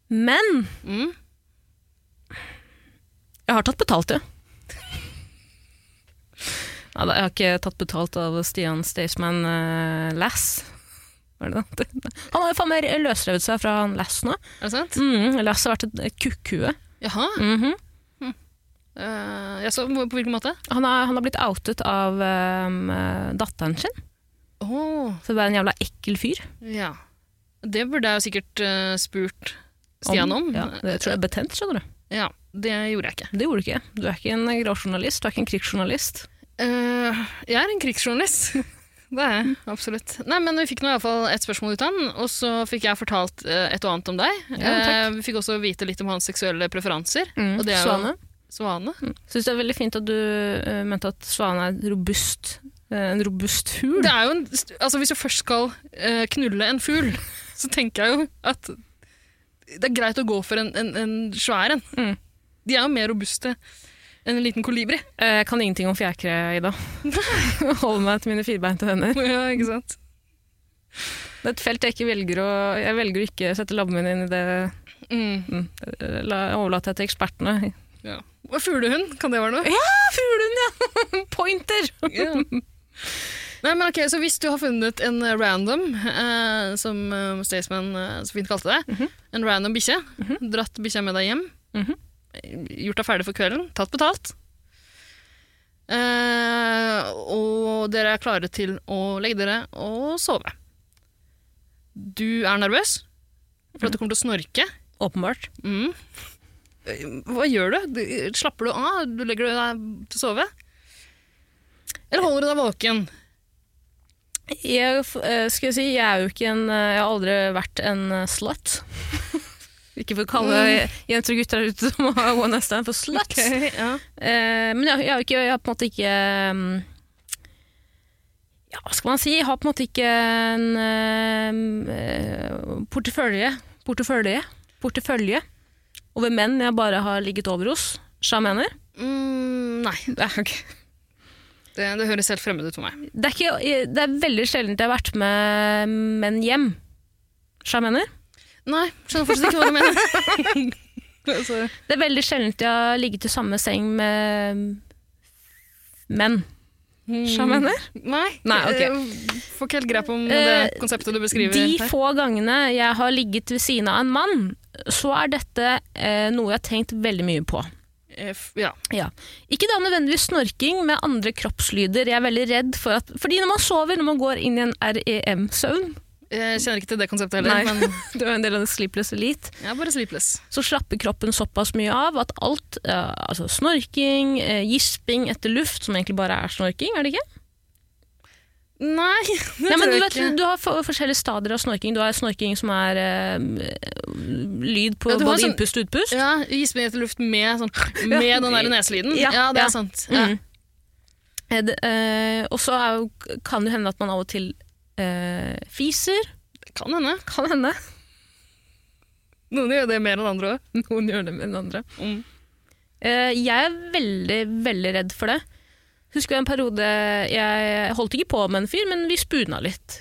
B: Men
A: Mm.
B: jeg har tatt betalt, ja. Nei, da, jeg har ikke tatt betalt av Stian Staysman eh, Lass. Hva er det det heter? Han har jo faen meg løsrevet seg fra han Lass nå.
A: Er det sant?
B: Mm, Lass har vært et, et kukkhue.
A: Jaha.
B: Mhm.
A: Eh, jeg så, på hvilken måte?
B: han, har, han har blitt outet av ehm, eh, datteren sin.
A: Å,
B: Så det er en jævla ekkel fyr.
A: ja. Det burde jeg jo sikkert eh, spurt Stian om.
B: Ja, det tror jeg er betent, skjønner du.
A: Ja, det gjorde jeg ikke.
B: Det gjorde du ikke. Du er ikke en gravjournalist, du er ikke en krigsjournalist.
A: Eh, jeg er en krigsjournalist. Det er jeg, absolutt. Nei, men Vi fikk nå i alle fall ett spørsmål ut av han, og så fikk jeg fortalt eh, et og annet om deg.
B: takk.
A: Eh, vi fikk også vite litt om hans seksuelle preferanser.
B: Mm.
A: Og det er jo-
B: Svane.
A: Svane.
B: Syns det er veldig fint at du eh, mente at svane er et robust, eh, en robust fugl.
A: Det er jo en, altså Hvis du først skal eh, knulle en fugl, så tenker jeg jo at det er greit å gå for en, en, en svær en.
B: Mm.
A: De er jo mer robuste enn en liten kolibri.
B: Eh, Jeg kan ingenting om fjærkre, Ida. Holder meg til mine firbeinte venner.
A: Ja, ikke sant?
B: Det er et felt jeg ikke velger å Jeg velger å ikke sette labben min inn i det.
A: Mm.
B: eh, La, overlater jeg til ekspertene.
A: Ja. Og Fuglehund, kan det være noe?
B: Fuglen, ja! Pointer!
A: Ja. Nei, men ok, Så hvis du har funnet en eh, random, eh, som eh, Staysman eh, så fint kalte det, en random bikkje, dratt bikkja med deg hjem,
B: Mhm.
A: eh, gjort deg ferdig for kvelden, tatt betalt eh, Og dere er klare til å legge dere og sove. Du er nervøs for at du kommer til å snorke.
B: Åpenbart.
A: Mm. Eh, Hva gjør du? Du- Slapper du av? Du legger deg til å sove? Eller holder du deg våken?
B: Jeg, f- eh, skal jeg si, jeg er jo ikke en eh, Jeg har aldri vært en eh, slut. Mm. ikke for å kalle jenter og gutter der ute som har one night stand for sluts.
A: ja.
B: Eh, men jeg, jeg, har ikke, jeg har på en måte ikke mm, Ja, hva skal man si? Jeg har på en måte ikke en mm, eh, portefølje. Portefølje. Portefølje over menn jeg bare har ligget over hos. Sjamener.
A: Mm, nei,
B: Det er, ok.
A: det, det høres helt fremmed ut for meg.
B: det, er ikke, det er veldig sjeldent jeg har vært med menn hjem. Sjamener.
A: Nei, skjønner fortsatt ikke hva du mener. altså,
B: Det er veldig sjeldent jeg har ligget i samme seng med menn.
A: Mm.
B: Sjamener.
A: Hmm. nei,
B: Nei, ok.
A: jeg får ikke helt grep om
B: Eh,
A: det konseptet du beskriver.
B: De
A: her.
B: få gangene jeg har ligget ved siden av en mann, så er dette eh, noe jeg har tenkt veldig mye på.
A: Eh, f- ja.
B: Ja. Ikke da nødvendigvis snorking med andre kroppslyder. Jeg er veldig redd for at Fordi når man sover, når man går inn i en E REM-søvn
A: Jeg kjenner ikke til det konseptet heller,
B: Nei.
A: men
B: Det er jo en del av det sleepless elite.
A: jeg er bare sleepless.
B: Så slapper kroppen såpass mye av at alt, eh, altså snorking, eh, gisping etter luft, som egentlig bare er snorking, er det ikke?
A: Nei, det
B: Nei,
A: tror
B: men du,
A: jeg
B: vet,
A: ikke.
B: du har for- forskjellige stadier av snorking. Du har snorking som er eh, lyd på
A: Ja, du har
B: både
A: sånn-
B: innpust og utpust.
A: Ja, Gispe etter luft med, sånn, med den der neselyden. Ja,
B: Ja,
A: det
B: ja.
A: er sant. Ja.
B: Mm. Eh, det, eh, og så er jo- kan det hende at man av og til eh, fiser.
A: Kan hende.
B: Kan hende.
A: Noen gjør det mer enn andre òg.
B: Noen gjør det med den andre.
A: Mm.
B: Eh, jeg er veldig, veldig redd for det. Husker jeg en periode Jeg holdt ikke på med en fyr, men vi spuna litt.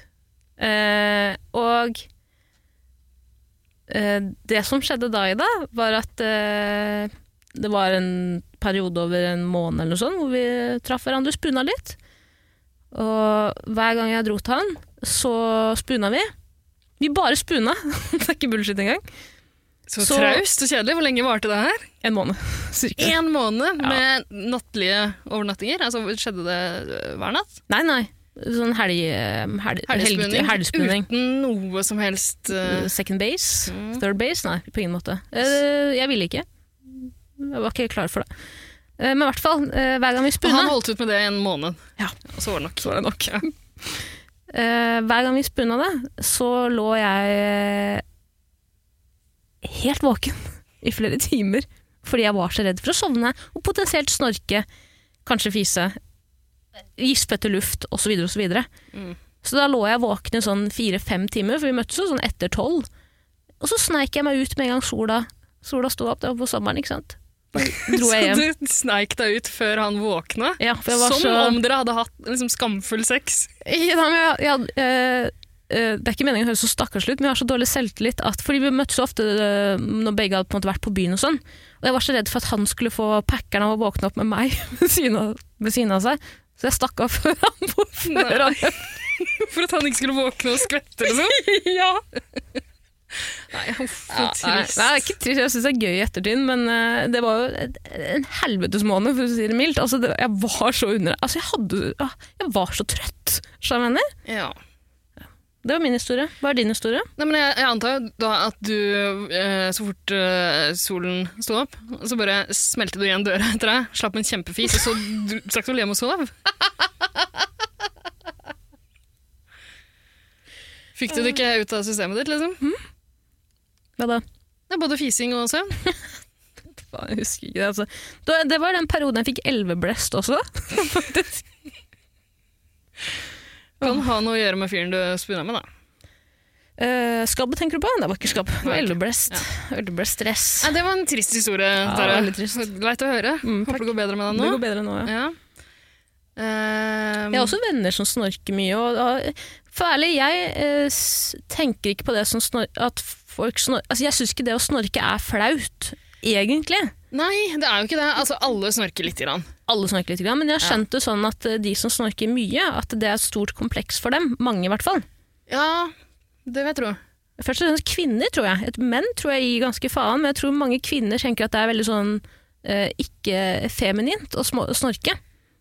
B: Eh, og eh, det som skjedde da, Ida, var at eh, det var en periode over en måned eller noe sånt, hvor vi traff hverandre og spuna litt. Og hver gang jeg dro til han, så spuna vi. Vi bare spuna. det er ikke bullshit engang.
A: Så,
B: Så-
A: traust og kjedelig. Hvor lenge varte det her?
B: En måned, cirka.
A: Én måned med nattlige overnattinger. Altså, skjedde det øh, hver natt?
B: Nei, nei. Sånn helg... helg
A: Helgspunning?
B: helg- helgspunning.
A: Uten noe som helst øh,
B: Second base? Third base? Nei, på ingen måte. Eh, jeg ville ikke. Jeg var ikke klar for det. Eh, men i hvert fall, eh, hver gang vi
A: Og
B: spuna
A: han holdt ut med det i en måned.
B: Ja.
A: Og så var det nok. Så var det nok. Ja.
B: Eh, hver gang vi spunna det, så lå jeg eh, helt våken i flere timer. Fordi jeg var så redd for å sovne og potensielt
A: Mm.
B: snorke, kanskje fise, gispe etter luft osv. osv. Så, videre. Så da lå jeg våken i sånn fire-fem timer, for vi møttes jo sånn etter tolv. Og så sneik jeg meg ut med en gang sola, sola sto opp, det var på sommeren, ikke sant. Bare dro jeg hjem.
A: Så du sneik deg ut før han våkna?
B: Ja, for jeg var
A: Som
B: så-
A: om dere hadde hatt liksom, skamfull sex.
B: Ja, men jeg, jeg, eh, eh, det er ikke meningen å høres så stakkars ut, men jeg har så dårlig selvtillit at Fordi vi møttes så ofte eh, når begge hadde på en måte vært på byen og sånn. Og jeg var så redd for at han skulle få packeren av å våkne opp med meg ved siden av, ved siden av seg. Så jeg stakk av før han før
A: Nei.
B: han
A: For at han ikke skulle våkne og skvette, liksom. ja. Nei, uff,
B: Ja, nei,
A: trist.
B: nei, det er ikke trist. Jeg syns det er gøy i ettertid, men eh, det var jo et- en helvetes måned, for å si det mildt. Altså, det, jeg var så under Altså, jeg hadde ah, Jeg var så trøtt, skjønner jeg mener.
A: Ja.
B: Det var min historie. Hva er din historie?
A: Nei, men jeg, jeg antar jo da at du, eh, så fort eh, solen sto opp, så bare smelte du igjen døra etter deg, slapp en kjempefis, og så dro- stakk du hjem og sov. Fikk du det ikke ut av systemet ditt, liksom?
B: Hva da?
A: Det er både fising og søvn.
B: Faen, jeg husker ikke det, altså. Det, det var den perioden jeg fikk elveblest også. Faktisk.
A: Kan ha noe å gjøre med fyren du spuna med, da.
B: Eh, skabb tenker du på? Det var ikke skabb, det var
A: Nei, ok.
B: elveblest. Elveblest stress.
A: Nei, det var en trist historie.
B: det
A: Tara.
B: var veldig trist.
A: Leit å høre.
B: Mm, takk.
A: Håper det går bedre med deg sånn nå.
B: Det går bedre nå, ja.
A: Ja. Ehm,
B: Jeg har også venner som snorker mye. Og, og, for ærlig, jeg eh, s- tenker ikke på det som snor at folk snor altså, Jeg syns ikke det å snorke er flaut, egentlig.
A: Ehm, Nei, det er jo ikke det. Altså, alle snorker litt. Grann.
B: Alle snorker litt, grann, men jeg har skjønt det sånn at eh, de som snorker mye, at det er et stort kompleks for dem. Mange, i hvert fall.
A: Ja, det vil jeg tro.
B: Først og fremst kvinner, tror jeg. Et menn tror jeg gir ganske faen, men jeg tror mange kvinner tenker at det er veldig sånn eh, ikke feminint å små- snorke.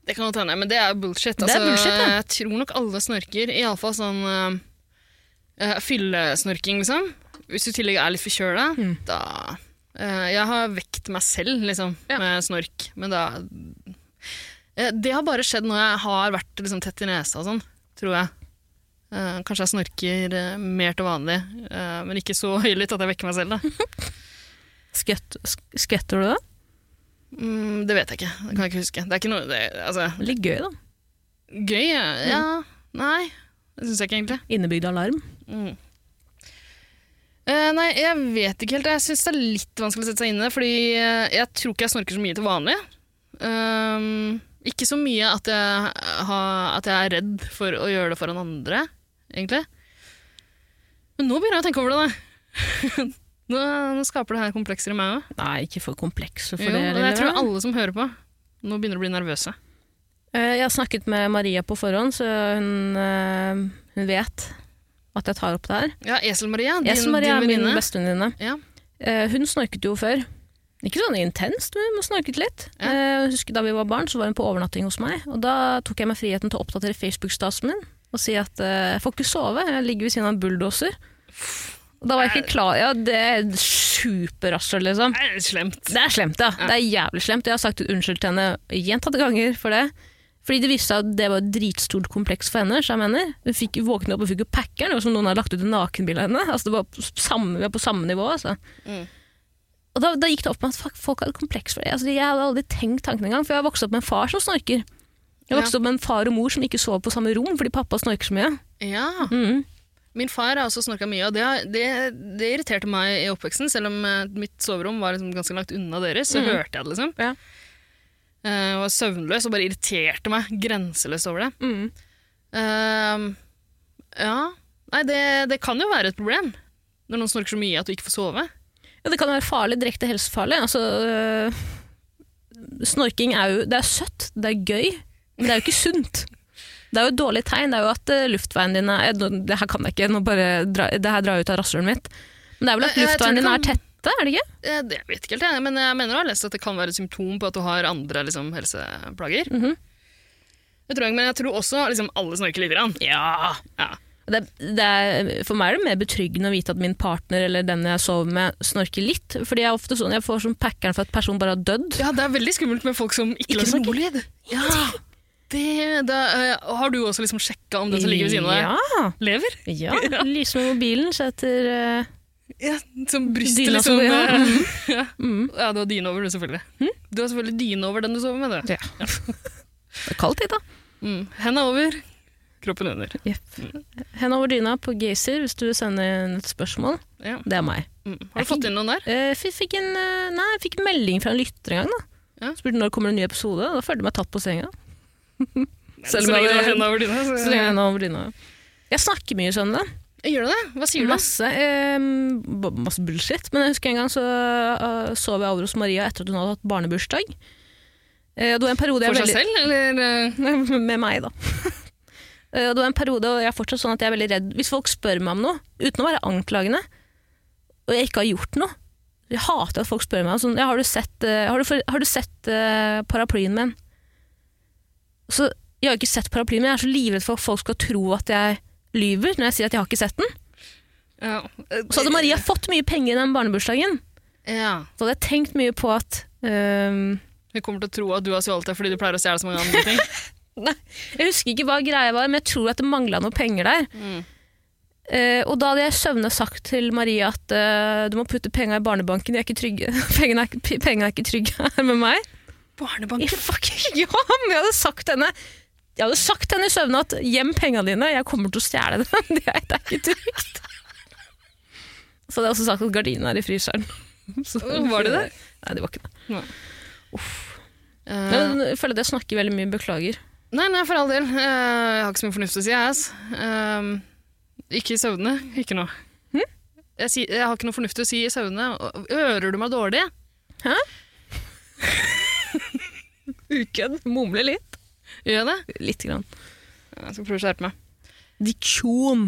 A: Det kan godt hende, men det er jo bullshit. Altså,
B: Det er bullshit, det.
A: Jeg tror nok alle snorker. Iallfall sånn eh, eh, fyllesnorking, liksom. Hvis du i tillegg er litt forkjøla,
B: Mm.
A: da eh, Jeg har vekt meg selv, liksom, med snork, men da Eh, Det har bare skjedd når jeg har vært liksom, tett i nesa og sånn, tror jeg. Eh, kanskje jeg snorker eh, mer til vanlig, eh, men ikke så høylytt at jeg vekker meg selv, da.
B: Skvett, sk- skvetter du da?
A: Mm, det vet jeg ikke. Det kan jeg ikke huske. Det er ikke noe det, altså,
B: Litt gøy, da.
A: Gøy, ja. ja. Nei, det syns jeg ikke egentlig.
B: Innebygd alarm.
A: Eh, nei, jeg vet ikke helt. Jeg syns det er litt vanskelig å sette seg inn i det, fordi eh, jeg tror ikke jeg snorker så mye til vanlig. Ehm, ikke så mye at jeg, har- at jeg er redd for å gjøre det foran andre, egentlig. Men nå begynner jeg å tenke over det, da. nå, nå skaper det her komplekser i meg òg.
B: Nei, ikke for komplekse for
A: Jo,
B: det.
A: og
B: lille
A: jeg tror
B: venn.
A: alle som hører på, nå begynner å bli nervøse.
B: Eh, Jeg har snakket med Maria på forhånd, så hun, eh, hun vet at jeg tar opp det her.
A: Ja, Esel-Maria, din,
B: Jeg som Maria er
A: din
B: min
A: venninne.
B: bestevenninne.
A: Ja.
B: Eh, Hun snorket jo før. Ikke sånn intenst, men hun snorket litt.
A: Ja.
B: Eh, Jeg husker Da vi var barn, så var hun på overnatting hos meg. Og Da tok jeg meg friheten til å oppdatere Facebook-stasen min og si at eh, jeg får ikke sove, jeg ligger ved siden av en bulldoser. Og Da var jeg ikke klar Ja, det er superrasshøl, liksom.
A: Det er slemt.
B: Det er slemt, ja. Det er jævlig slemt. Jeg har sagt unnskyld til henne gjentatte ganger for det. Fordi det viste seg at det var et dritstort kompleks for henne. så jeg mener. Hun fikk våkne opp og fikk jo packeren, det var som noen hadde lagt ut en nakenbilde av henne. Altså, det var på samme, vi var på samme nivå, altså. Og da, da gikk det opp med at fuck, folk hadde kompleks for det. Altså, jeg hadde aldri tenkt tanken engang, for jeg har vokst opp med en far som snorker. Jeg vokste opp med en far og mor som ikke sov på samme rom fordi pappa snorker så mye.
A: Ja.
B: Mhm.
A: Min far har også snorka mye, og det, det, det irriterte meg i oppveksten. Selv om eh, mitt soverom var liksom ganske langt unna deres, så hørte jeg det. liksom.
B: Ja.
A: Eh, jeg var søvnløs og bare irriterte meg grenseløst over det.
B: Mhm.
A: Ehm, ja Nei, det, det kan jo være et problem når noen snorker så mye at du ikke får sove.
B: Ja, det kan være farlig, direkte helsefarlig. Altså, øh, snorking er jo Det er søtt, det er gøy, men det er jo ikke sunt. Det er jo et dårlig tegn. Det er jo at øh, luftveien din er eh, nå- Det her kan jeg ikke, nå bare dra, det her drar jeg ut av rasshølet mitt. Men det er vel
A: Jeg-
B: at
A: jeg tror
B: luftveien
A: det
B: din er
A: kan-
B: tette, er det ikke?
A: Eh, Det vet ikke helt jeg, men jeg mener å ha lest at det kan være et symptom på at du har andre liksom, helseplager. Det tror jeg, Men jeg tror også liksom, alle snorker lite grann. Ja.
B: Det, det er, for meg er det mer betryggende å vite at min partner eller den jeg sover med, snorker litt. Fordi jeg er ofte sånn, jeg får sånn packeren for at personen bare har dødd.
A: Ja, det er veldig skummelt med folk som ikke,
B: Ikke
A: lager
B: snorker.
A: noe lyd. Ja, det, da, eh, har du også liksom sjekka om den som ligger ved siden av deg,
B: Ja,
A: lever?
B: ja. Lyser med mobilen, setter øh,
A: Ja, som brystet
B: Dyna som
A: liksom.
B: går, ja.
A: eh, ja. Mm. ja, du har dyne over du, selvfølgelig. Du har selvfølgelig dyne over den du sover med. du.
B: Det er kaldt, det, da.
A: Mm. Henda over, Kroppen under.
B: Hen over dyna på Gazer hvis du sender inn et spørsmål.
A: Ja.
B: Det er meg.
A: Mm. Har du fått inn noen der?
B: Eh, fikk, fikk en, eh, nei, jeg fikk en melding fra en lytter en gang. da.
A: Ja.
B: Spurte når kommer det en ny episode. og Da følte jeg meg tatt på senga.
A: så lenge
B: Selv om jeg
A: du har
B: hadde-
A: hendene over dyna. Så,
B: så lenge jeg hadde hendene over dyna. Jeg snakker mye, skjønner du.
A: Gjør du det? Hva sier du?
B: Masse, eh, b- masse bullshit. Men jeg husker en gang så eh, sov jeg over hos Maria etter at hun hadde hatt barnebursdag. Eh, det var en periode jeg
A: For
B: veldig-
A: seg selv, eller? eh,
B: med meg, da. Eh, Det var en periode, og jeg er fortsatt sånn at jeg er veldig redd Hvis folk spør meg om noe, uten å være anklagende, og jeg ikke har gjort noe Jeg hater at folk spør meg om sånn ja, 'Har du sett, eh, har du, for- har du sett eh, paraplyen min?' Så jeg har ikke sett paraplyen min. Jeg er så livredd for at folk skal tro at jeg lyver når jeg sier at jeg har ikke sett den.
A: Ja.
B: Og så hadde Maria fått mye penger i den barnebursdagen.
A: Ja.
B: Så hadde jeg tenkt mye på at eh,
A: Hun kommer til å tro at du har stjålet det fordi du pleier å stjele så mange andre ting.
B: Nei, jeg husker ikke hva greia var, men jeg tror at det mangla noen penger der.
A: Mm.
B: Eh, og da hadde jeg i søvne sagt til Maria at eh, du må putte penga i barnebanken, de er ikke trygge. Pengene er, ikke- p- penga er ikke trygge her med meg.
A: Barnebank.
B: Jeg, fuck, ja, men jeg hadde sagt henne Jeg hadde sagt henne i søvne at gjem penga dine, jeg kommer til å stjele dem. Det er, det er ikke trygt. Så hadde jeg også sagt at gardinene er i fryseren. Så-
A: Var de det?
B: Nei, de var ikke det.
A: Eh,
B: Men jeg føler at jeg snakker veldig mye, beklager.
A: nei, nei, for all del. Eh, jeg har ikke så mye fornuft til å si, jeg. ass. Eh, ikke i søvne. Ikke nå. Jeg, sier- jeg har ikke noe fornuft til å si i søvne. Ører du meg dårlig?
B: Ukødd, mumle litt.
A: Gjør jeg det?
B: Lite grann.
A: Jeg skal prøve å skjerpe meg.
B: Diksjon.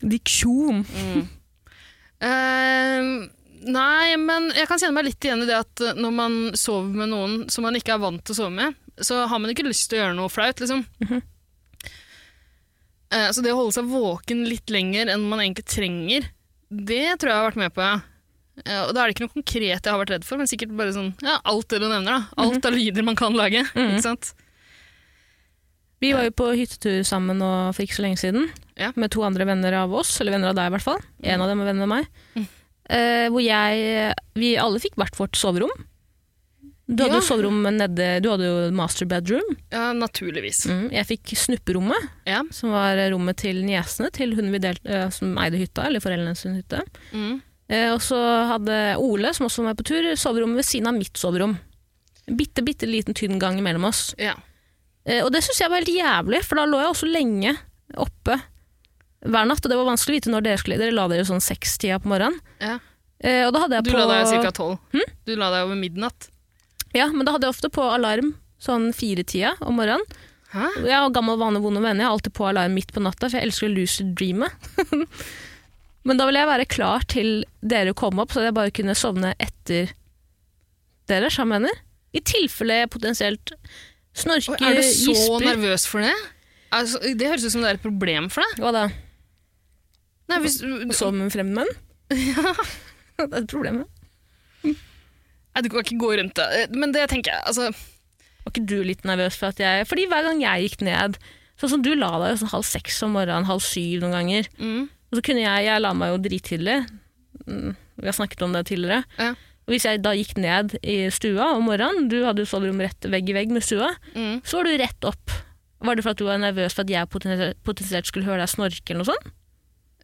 B: Diksjon.
A: Eh, nei, men jeg kan kjenne meg litt igjen i det at eh, når man sover med noen som man ikke er vant til å sove med, så har man ikke lyst til å gjøre noe flaut, liksom. Eh, så det å holde seg våken litt lenger enn man egentlig trenger, det tror jeg jeg har vært med på, ja. Eh, og da er det ikke noe konkret jeg har vært redd for, men sikkert bare sånn, ja, alt det du nevner da. Alt av lyder man kan lage, ikke sant?
B: Vi var jo på hyttetur sammen nå for ikke så lenge siden,
A: Ja. Mm.
B: med to andre venner av oss, eller venner av deg i hvert fall. En av dem er venn med meg. Eh, hvor jeg, vi alle fikk hvert vårt soverom. Du hadde
A: Ja.
B: jo soverom nede, du hadde jo master bedroom.
A: Ja, naturligvis.
B: Mm, jeg fikk snupperommet,
A: Ja.
B: som var rommet til niesene, til hun vi delte, eh, som eide hytta, eller foreldrene sin hytte.
A: Mm.
B: Eh, og så hadde Ole, som også var med på tur, soverommet ved siden av mitt soverom. En bitte, bitte liten tynn gang mellom oss.
A: Ja.
B: Eh, Og det syns jeg var helt jævlig, for da lå jeg også lenge oppe hver natt. Og det var vanskelig å vite når dere skulle Dere la dere jo sånn sekstida på morgenen.
A: Ja.
B: Eh, Og da hadde jeg
A: Du
B: på
A: la deg cirka tolv. Du la deg over midnatt.
B: Ja, men da hadde jeg ofte på alarm sånn firetida om morgenen.
A: Hæ?
B: Jeg har gammel vane vonde venner, jeg har alltid på alarm midt på natta, for jeg elsker å lucid dreame. men da ville jeg være klar til dere kom opp, så jeg bare kunne sovne etter dere, sammen med henne. I tilfelle jeg potensielt
A: Oi,
B: snorker,
A: er du så
B: gisper
A: nervøs for det? Altså, det høres ut som det er et problem for deg.
B: Hva da?
A: Nei, hvis,
B: Sove med fremmede menn? Ja. det er et problem. ja.
A: nei, du kan ikke gå rundt det. Eh, Men det tenker jeg altså,
B: Var ikke du litt nervøs for at jeg Fordi hver gang jeg gikk ned Sånn som du la deg jo sånn halv seks om morgenen, halv syv noen ganger.
A: mm,
B: Og så kunne jeg Jeg la meg jo drittidlig. Mm, Vi har snakket om det tidligere.
A: Ja.
B: Og hvis jeg da gikk ned i stua om morgenen, du hadde jo soverom rett vegg i vegg med stua,
A: mm.
B: så var du rett opp. Var det for at du var nervøs for at jeg potensielt- potensielt skulle høre deg snorke eller noe sånt?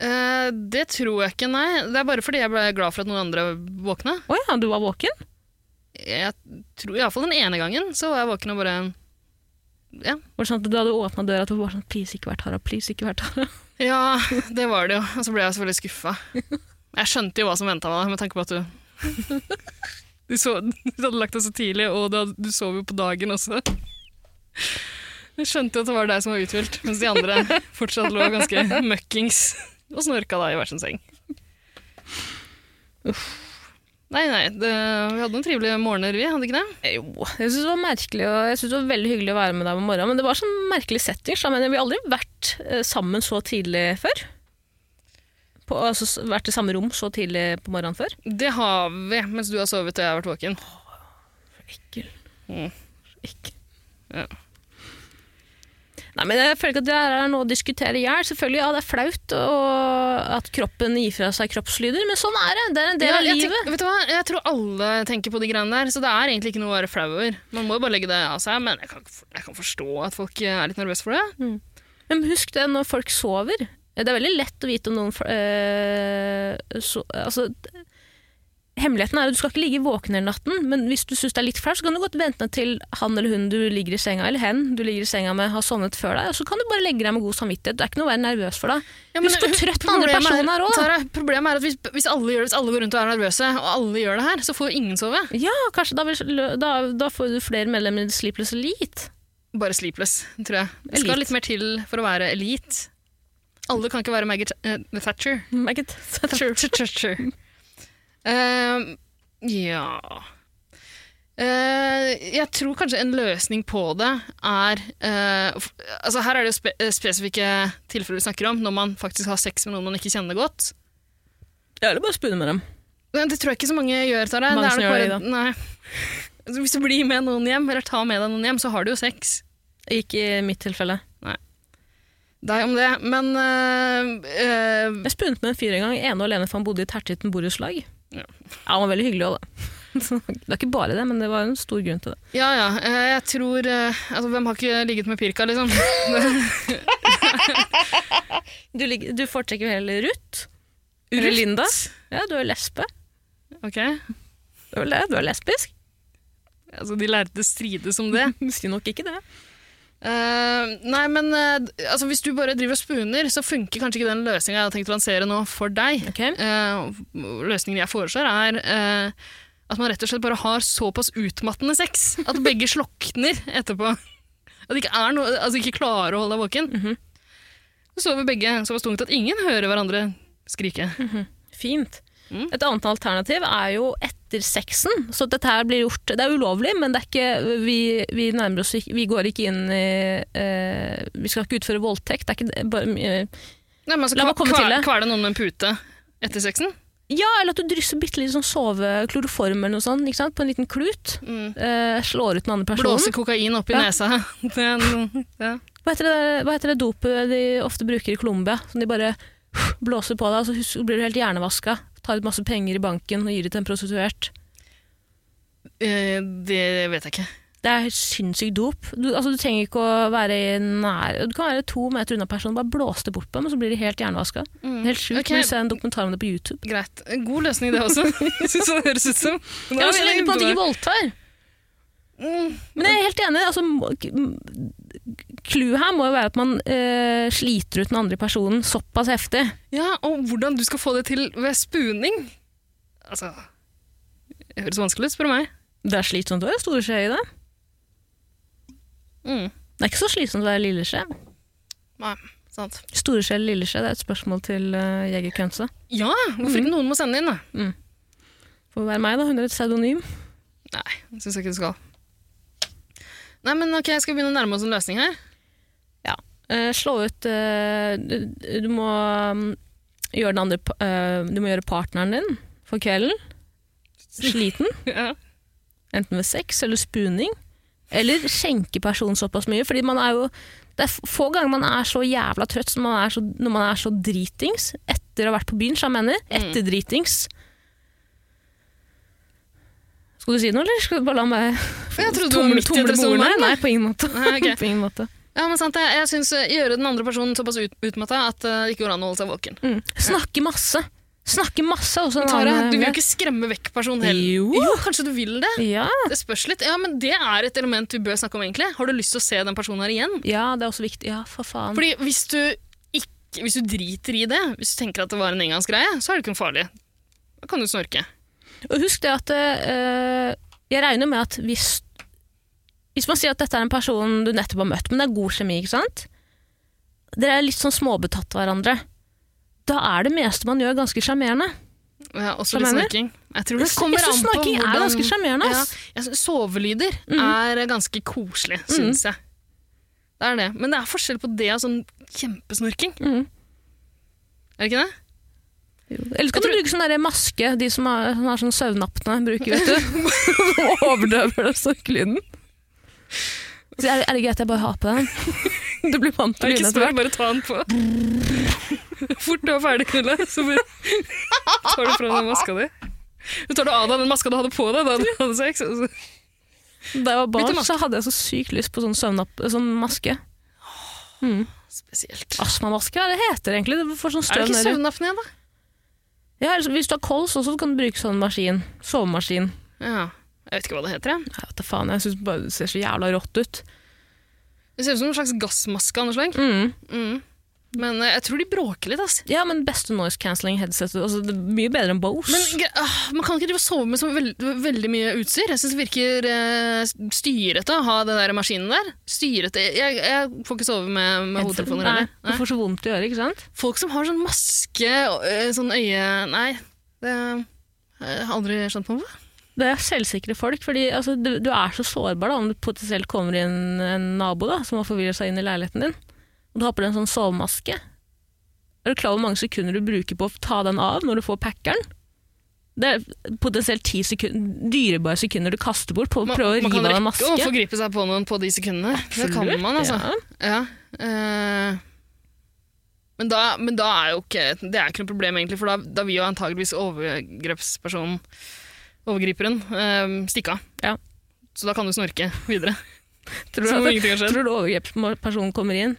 A: Eh, Det tror jeg ikke, nei. Det er bare fordi jeg ble glad for at noen andre våkna.
B: Å ja, du var våken?
A: Jeg tror Iallfall den ene gangen så var jeg våken og bare Ja.
B: Var det sånn at du hadde åpna døra og du var sånn Please, ikke vær Tara. Please, ikke vær Tara.
A: Ja, det var det jo. Og så ble jeg selvfølgelig skuffa. Jeg skjønte jo hva som venta meg, med tanke på at du Du, så, du hadde lagt deg så tidlig, og du, hadde, du sov jo på dagen også. Jeg skjønte jo at det var deg som var uthvilt, mens de andre fortsatt lå ganske møkkings og snorka da i hver sin seng. Nei, nei, det, vi hadde noen trivelige morgener, vi, hadde ikke det?
B: Eh, Jo, jeg synes det var merkelig, og jeg synes det var veldig hyggelig å være med deg om morgenen, men det var sånn merkelig setting. så Jeg mener, vi har aldri vært eh, sammen så tidlig før. På, altså s- vært i samme rom så tidlig på morgenen før.
A: Det har vi, mens du har sovet og jeg har vært våken.
B: Ekkel.
A: Mm.
B: Ekkel.
A: Ja.
B: Nei, men jeg føler ikke at det her er noe å diskutere i hjel. Selvfølgelig, ja, det er flaut og at kroppen gir fra seg kroppslyder, men sånn er det. Det er en del
A: Ja,
B: av
A: jeg
B: livet.
A: tenk- vet du hva? Jeg tror alle tenker på de greiene der, så det er egentlig ikke noe å være flau over. Man må jo bare legge det av seg, men jeg kan, jeg kan forstå at folk er litt nervøse for det.
B: Mm. Men husk det når folk sover. eh, Det er veldig lett å vite om noen øh, so, altså, d- Hemmeligheten er jo at du skal ikke ligge våken hele natten, men hvis du syns det er litt flaut, så kan du godt vente til han eller hun du ligger i senga eller hen du ligger i senga med, har sovnet før deg, og så kan du bare legge deg med god samvittighet. Det er ikke noe å være nervøs for da.
A: Ja, men
B: husk hvor trøtt den andre
A: problemet
B: personen
A: er
B: er òg.
A: Tara, Problemet er at hvis, hvis, alle gjør det, hvis alle går rundt og er nervøse, og alle gjør det her, så får ingen sove.
B: Ja, kanskje da, vil, da, da får du flere medlemmer i Sleepless Elite.
A: Bare sleepless, tror jeg. Det skal
B: Elite.
A: litt mer til for å være elite. Alle kan ikke være Maggie Th- eh, Thatcher.
B: Maggot.
A: Thatcher. Eh, ja Eh, Jeg tror kanskje en løsning på det er eh, f- Altså Her er det jo spe eh, spesifikke tilfeller vi snakker om, når man faktisk har sex med noen man ikke kjenner godt.
B: Ja, eller bare spune med dem.
A: Men Det tror jeg ikke så mange gjør, Tara.
B: Mange
A: Det er
B: som
A: nok
B: gjør det,
A: bare- Nei. Altså, Hvis du blir med noen hjem, eller tar med deg noen hjem, så har du jo sex.
B: Ikke i mitt tilfelle.
A: Deg om det. Men eh, eh,
B: Jeg spunnet med en fyr en gang, ene og alene, for han bodde i et hertitten borettslag.
A: Ja.
B: Ja, han var veldig hyggelig òg, da. Så Det var ikke bare det, men det var en stor grunn til det.
A: Ja, ja. eh, Jeg tror eh, Altså, hvem har ikke ligget med Pirka, liksom?
B: Du, ligger- du foretrekker vel heller Ruth? Eller Linda? Ja, du er jo lesbe.
A: Ok.
B: Du er, vel det? du er lesbisk?
A: Altså, de lærte strides om det.
B: Du sier nok ikke det.
A: Eh, nei, men eh, d- altså, hvis du bare driver og spooner, så funker kanskje ikke den løsninga jeg har tenkt å lansere nå, for deg.
B: Ok.
A: Eh, løsningen jeg foreslår, er eh, at man rett og slett bare har såpass utmattende sex at begge slokner etterpå. At det ikke, er noe, altså ikke klarer å holde deg våken.
B: Mhm.
A: Så sover begge såpass tungt at ingen hører hverandre skrike.
B: Mm. Fint. Et annet alternativ er jo etter sexen. Så dette her blir gjort Det er ulovlig, men det er ikke Vi, vi nærmer oss ikke Vi går ikke inn i eh, Vi skal ikke utføre voldtekt. Det er ikke bare eh,
A: Nei, men altså,
B: La meg
A: kva-
B: komme til
A: kva-
B: det.
A: Kvele noen med en pute etter sexen?
B: Ja, eller at du drysser bitte litt sånn sovekloroform eller noe sånt, ikke sant? på en liten klut. Eh, slår ut den andre personen.
A: Blåse kokain opp i
B: Ja.
A: nesa. Det er noe, ja.
B: Hva heter det, hva heter det dopet de ofte bruker i Colombia? Som de bare blåser på deg, og så hus- blir du helt hjernevaska. Tar ut masse penger i banken og gir det til en prostituert.
A: Eh, det vet jeg ikke.
B: Det er sinnssykt dop. Du, altså, du trenger ikke å være i nær Du kan være to meter unna personen, bare blås det bort på dem, og så blir de helt hjernevaska. Helt sjukt.
A: Ok.
B: Okay. Du ser en dokumentar om det på YouTube.
A: Greit. En God løsning, det også. Synes det høres ut som. Nå er
B: Ja, men Så
A: vi
B: lenge
A: inne på
B: man ikke
A: det.
B: voldtar. Men jeg er helt enig. altså må- k- m- Clouet her må jo være at man eh, sliter ut den andre personen såpass heftig.
A: Ja, og hvordan du skal få det til ved spooning. Altså Det høres vanskelig ut, spør du meg.
B: Det er slitsomt å være store skje i det.
A: Mm.
B: Det er ikke så slitsomt å være lille skje.
A: Nei, sant.
B: Store skje eller lille skje, det er et spørsmål til uh, Jegerkønse.
A: Ja, hvorfor
B: Mm.
A: ikke noen må sende inn, da?
B: Får være meg, da. Hun er et pseudonym.
A: Nei, det syns jeg ikke du skal. Nei, men ok, Skal vi begynne å nærme oss en løsning her?
B: Eh, slå ut eh, du, du må mm, gjøre den andre pa- eh, Du må gjøre partneren din for kvelden sliten.
A: Ja.
B: Enten ved sex eller spooning. Eller skjenke personen såpass mye. Fordi man er jo Det er f- få ganger man er så jævla trøtt som man er så, når man er så dritings etter å ha vært på byen, som jeg mener. Etter
A: Mm.
B: dritings. Skal du si noe, eller skal du bare la meg
A: Jeg trodde du var
B: tomle
A: midt i et
B: tomle med ordene?
A: resonnement,
B: Nei,
A: jeg.
B: på ingen måte.
A: Nei, ok.
B: på ingen måte.
A: Ja, men sant, Jeg, jeg syns gjøre den andre personen såpass ut, utmatta at eh, det ikke går an å holde seg våken.
B: Mm. Snakke masse. Snakke masse. Også en
A: Tara,
B: annen-
A: du vil jo ikke skremme vekk personen heller.
B: Jo.
A: kanskje du vil det?
B: ja.
A: Det spørs litt. Ja, men det er et element vi bør snakke om, egentlig. Har du lyst til å se den personen her igjen?
B: ja, det er også viktig. Ja, for faen.
A: Fordi hvis du, ikke, hvis du driter i det, hvis du tenker at det var en engangsgreie, så er det ikke noe farlig. Da kan du snorke.
B: Og husk det at eh, Jeg regner med at hvis Hvis man sier at dette er en person du nettopp har møtt, men det er god kjemi, ikke sant? Dere er litt sånn småbetatt av hverandre. Da er det meste man gjør, ganske sjarmerende.
A: Ja, også
B: Hva
A: litt
B: mener du?
A: snorking. Jeg tror det
B: Jeg
A: kommer
B: synes
A: an på
B: snorking er
A: hvordan-
B: ganske sjarmerende,
A: Ja,
B: ass. Mhm.
A: jeg synes sovelyder er ganske koselig, syns jeg. Det er det. Men det er forskjell på det og sånn kjempesnorking.
B: Mhm.
A: Er det ikke det?
B: Eller så kan du bruke sånn der maske, de som har, som har sånn søvnapne, bruker, vet du. Som Overdøver det snorkelyden. Så er, er det greit at jeg bare har på den? Du blir vant til
A: Nei, ikke
B: lyden etter
A: spør,
B: hvert.
A: bare ta den på. Fort du er ferdig, Knulle, så bare tar du fra deg maska di. Du tar du av deg den maska du hadde på deg da du hadde sex. og så-
B: Da jeg var barn,
A: Bytte maske.
B: så hadde jeg så sykt lyst på sånn, søvnapp, sånn maske.
A: Spesielt.
B: Astmamaske, hva er det heter det egentlig? Det får sånn
A: Er det
B: støv
A: ikke
B: nedi.
A: søvnapné, da?
B: Ja, altså, hvis du har kols også, så kan du bruke sånn maskin. Sovemaskin.
A: Ja. Jeg vet ikke hva det heter. Jeg.
B: Jeg vet da faen, jeg synes bare det ser så jævla rått ut.
A: Det ser ut som en slags gassmaske. av noe slag.
B: Mm.
A: Mm. Men eh, jeg tror de bråker litt. ass.
B: Ja, men beste noise cancelling headsetet, altså, det er mye bedre enn Bose.
A: Men gre- ah, Man kan ikke drive og sove med så veld, veldig mye utstyr. Jeg syns det virker eh, styrete å ha den der maskinen der. Styrete. Jeg, jeg får ikke sove med, med hodetelefoner
B: Nei,
A: heller.
B: du
A: Nei.
B: får så vondt i øret, ikke sant?
A: Folk som har sånn maske, og, eh, sånn øye Nei, det jeg har aldri skjønt noe på.
B: Det er selvsikre folk, fordi altså, du, du er så sårbar da, om du potensielt kommer inn en nabo da, som har forvirret seg inn i leiligheten din, og du har på deg en sånn sovemaske. Er du klar over hvor mange sekunder du bruker på å ta den av når du får packeren? Det er potensielt ti sekunder, dyrebare sekunder du kaster bort på å prøve å rive av en maske.
A: å forgripe seg på noen på de sekundene. Det kan
B: Absolutt,
A: man, altså.
B: ja.
A: Ja. eh, men, da, men da er jo ikke Det er ikke noe problem, egentlig, for da, da vil jo antageligvis overgrepspersonen, overgriperen, eh, stikke av.
B: Ja.
A: Så da kan du snorke videre.
B: Tror du,
A: Som om
B: at,
A: ingenting har skjedd.
B: tror du overgrepspersonen kommer inn,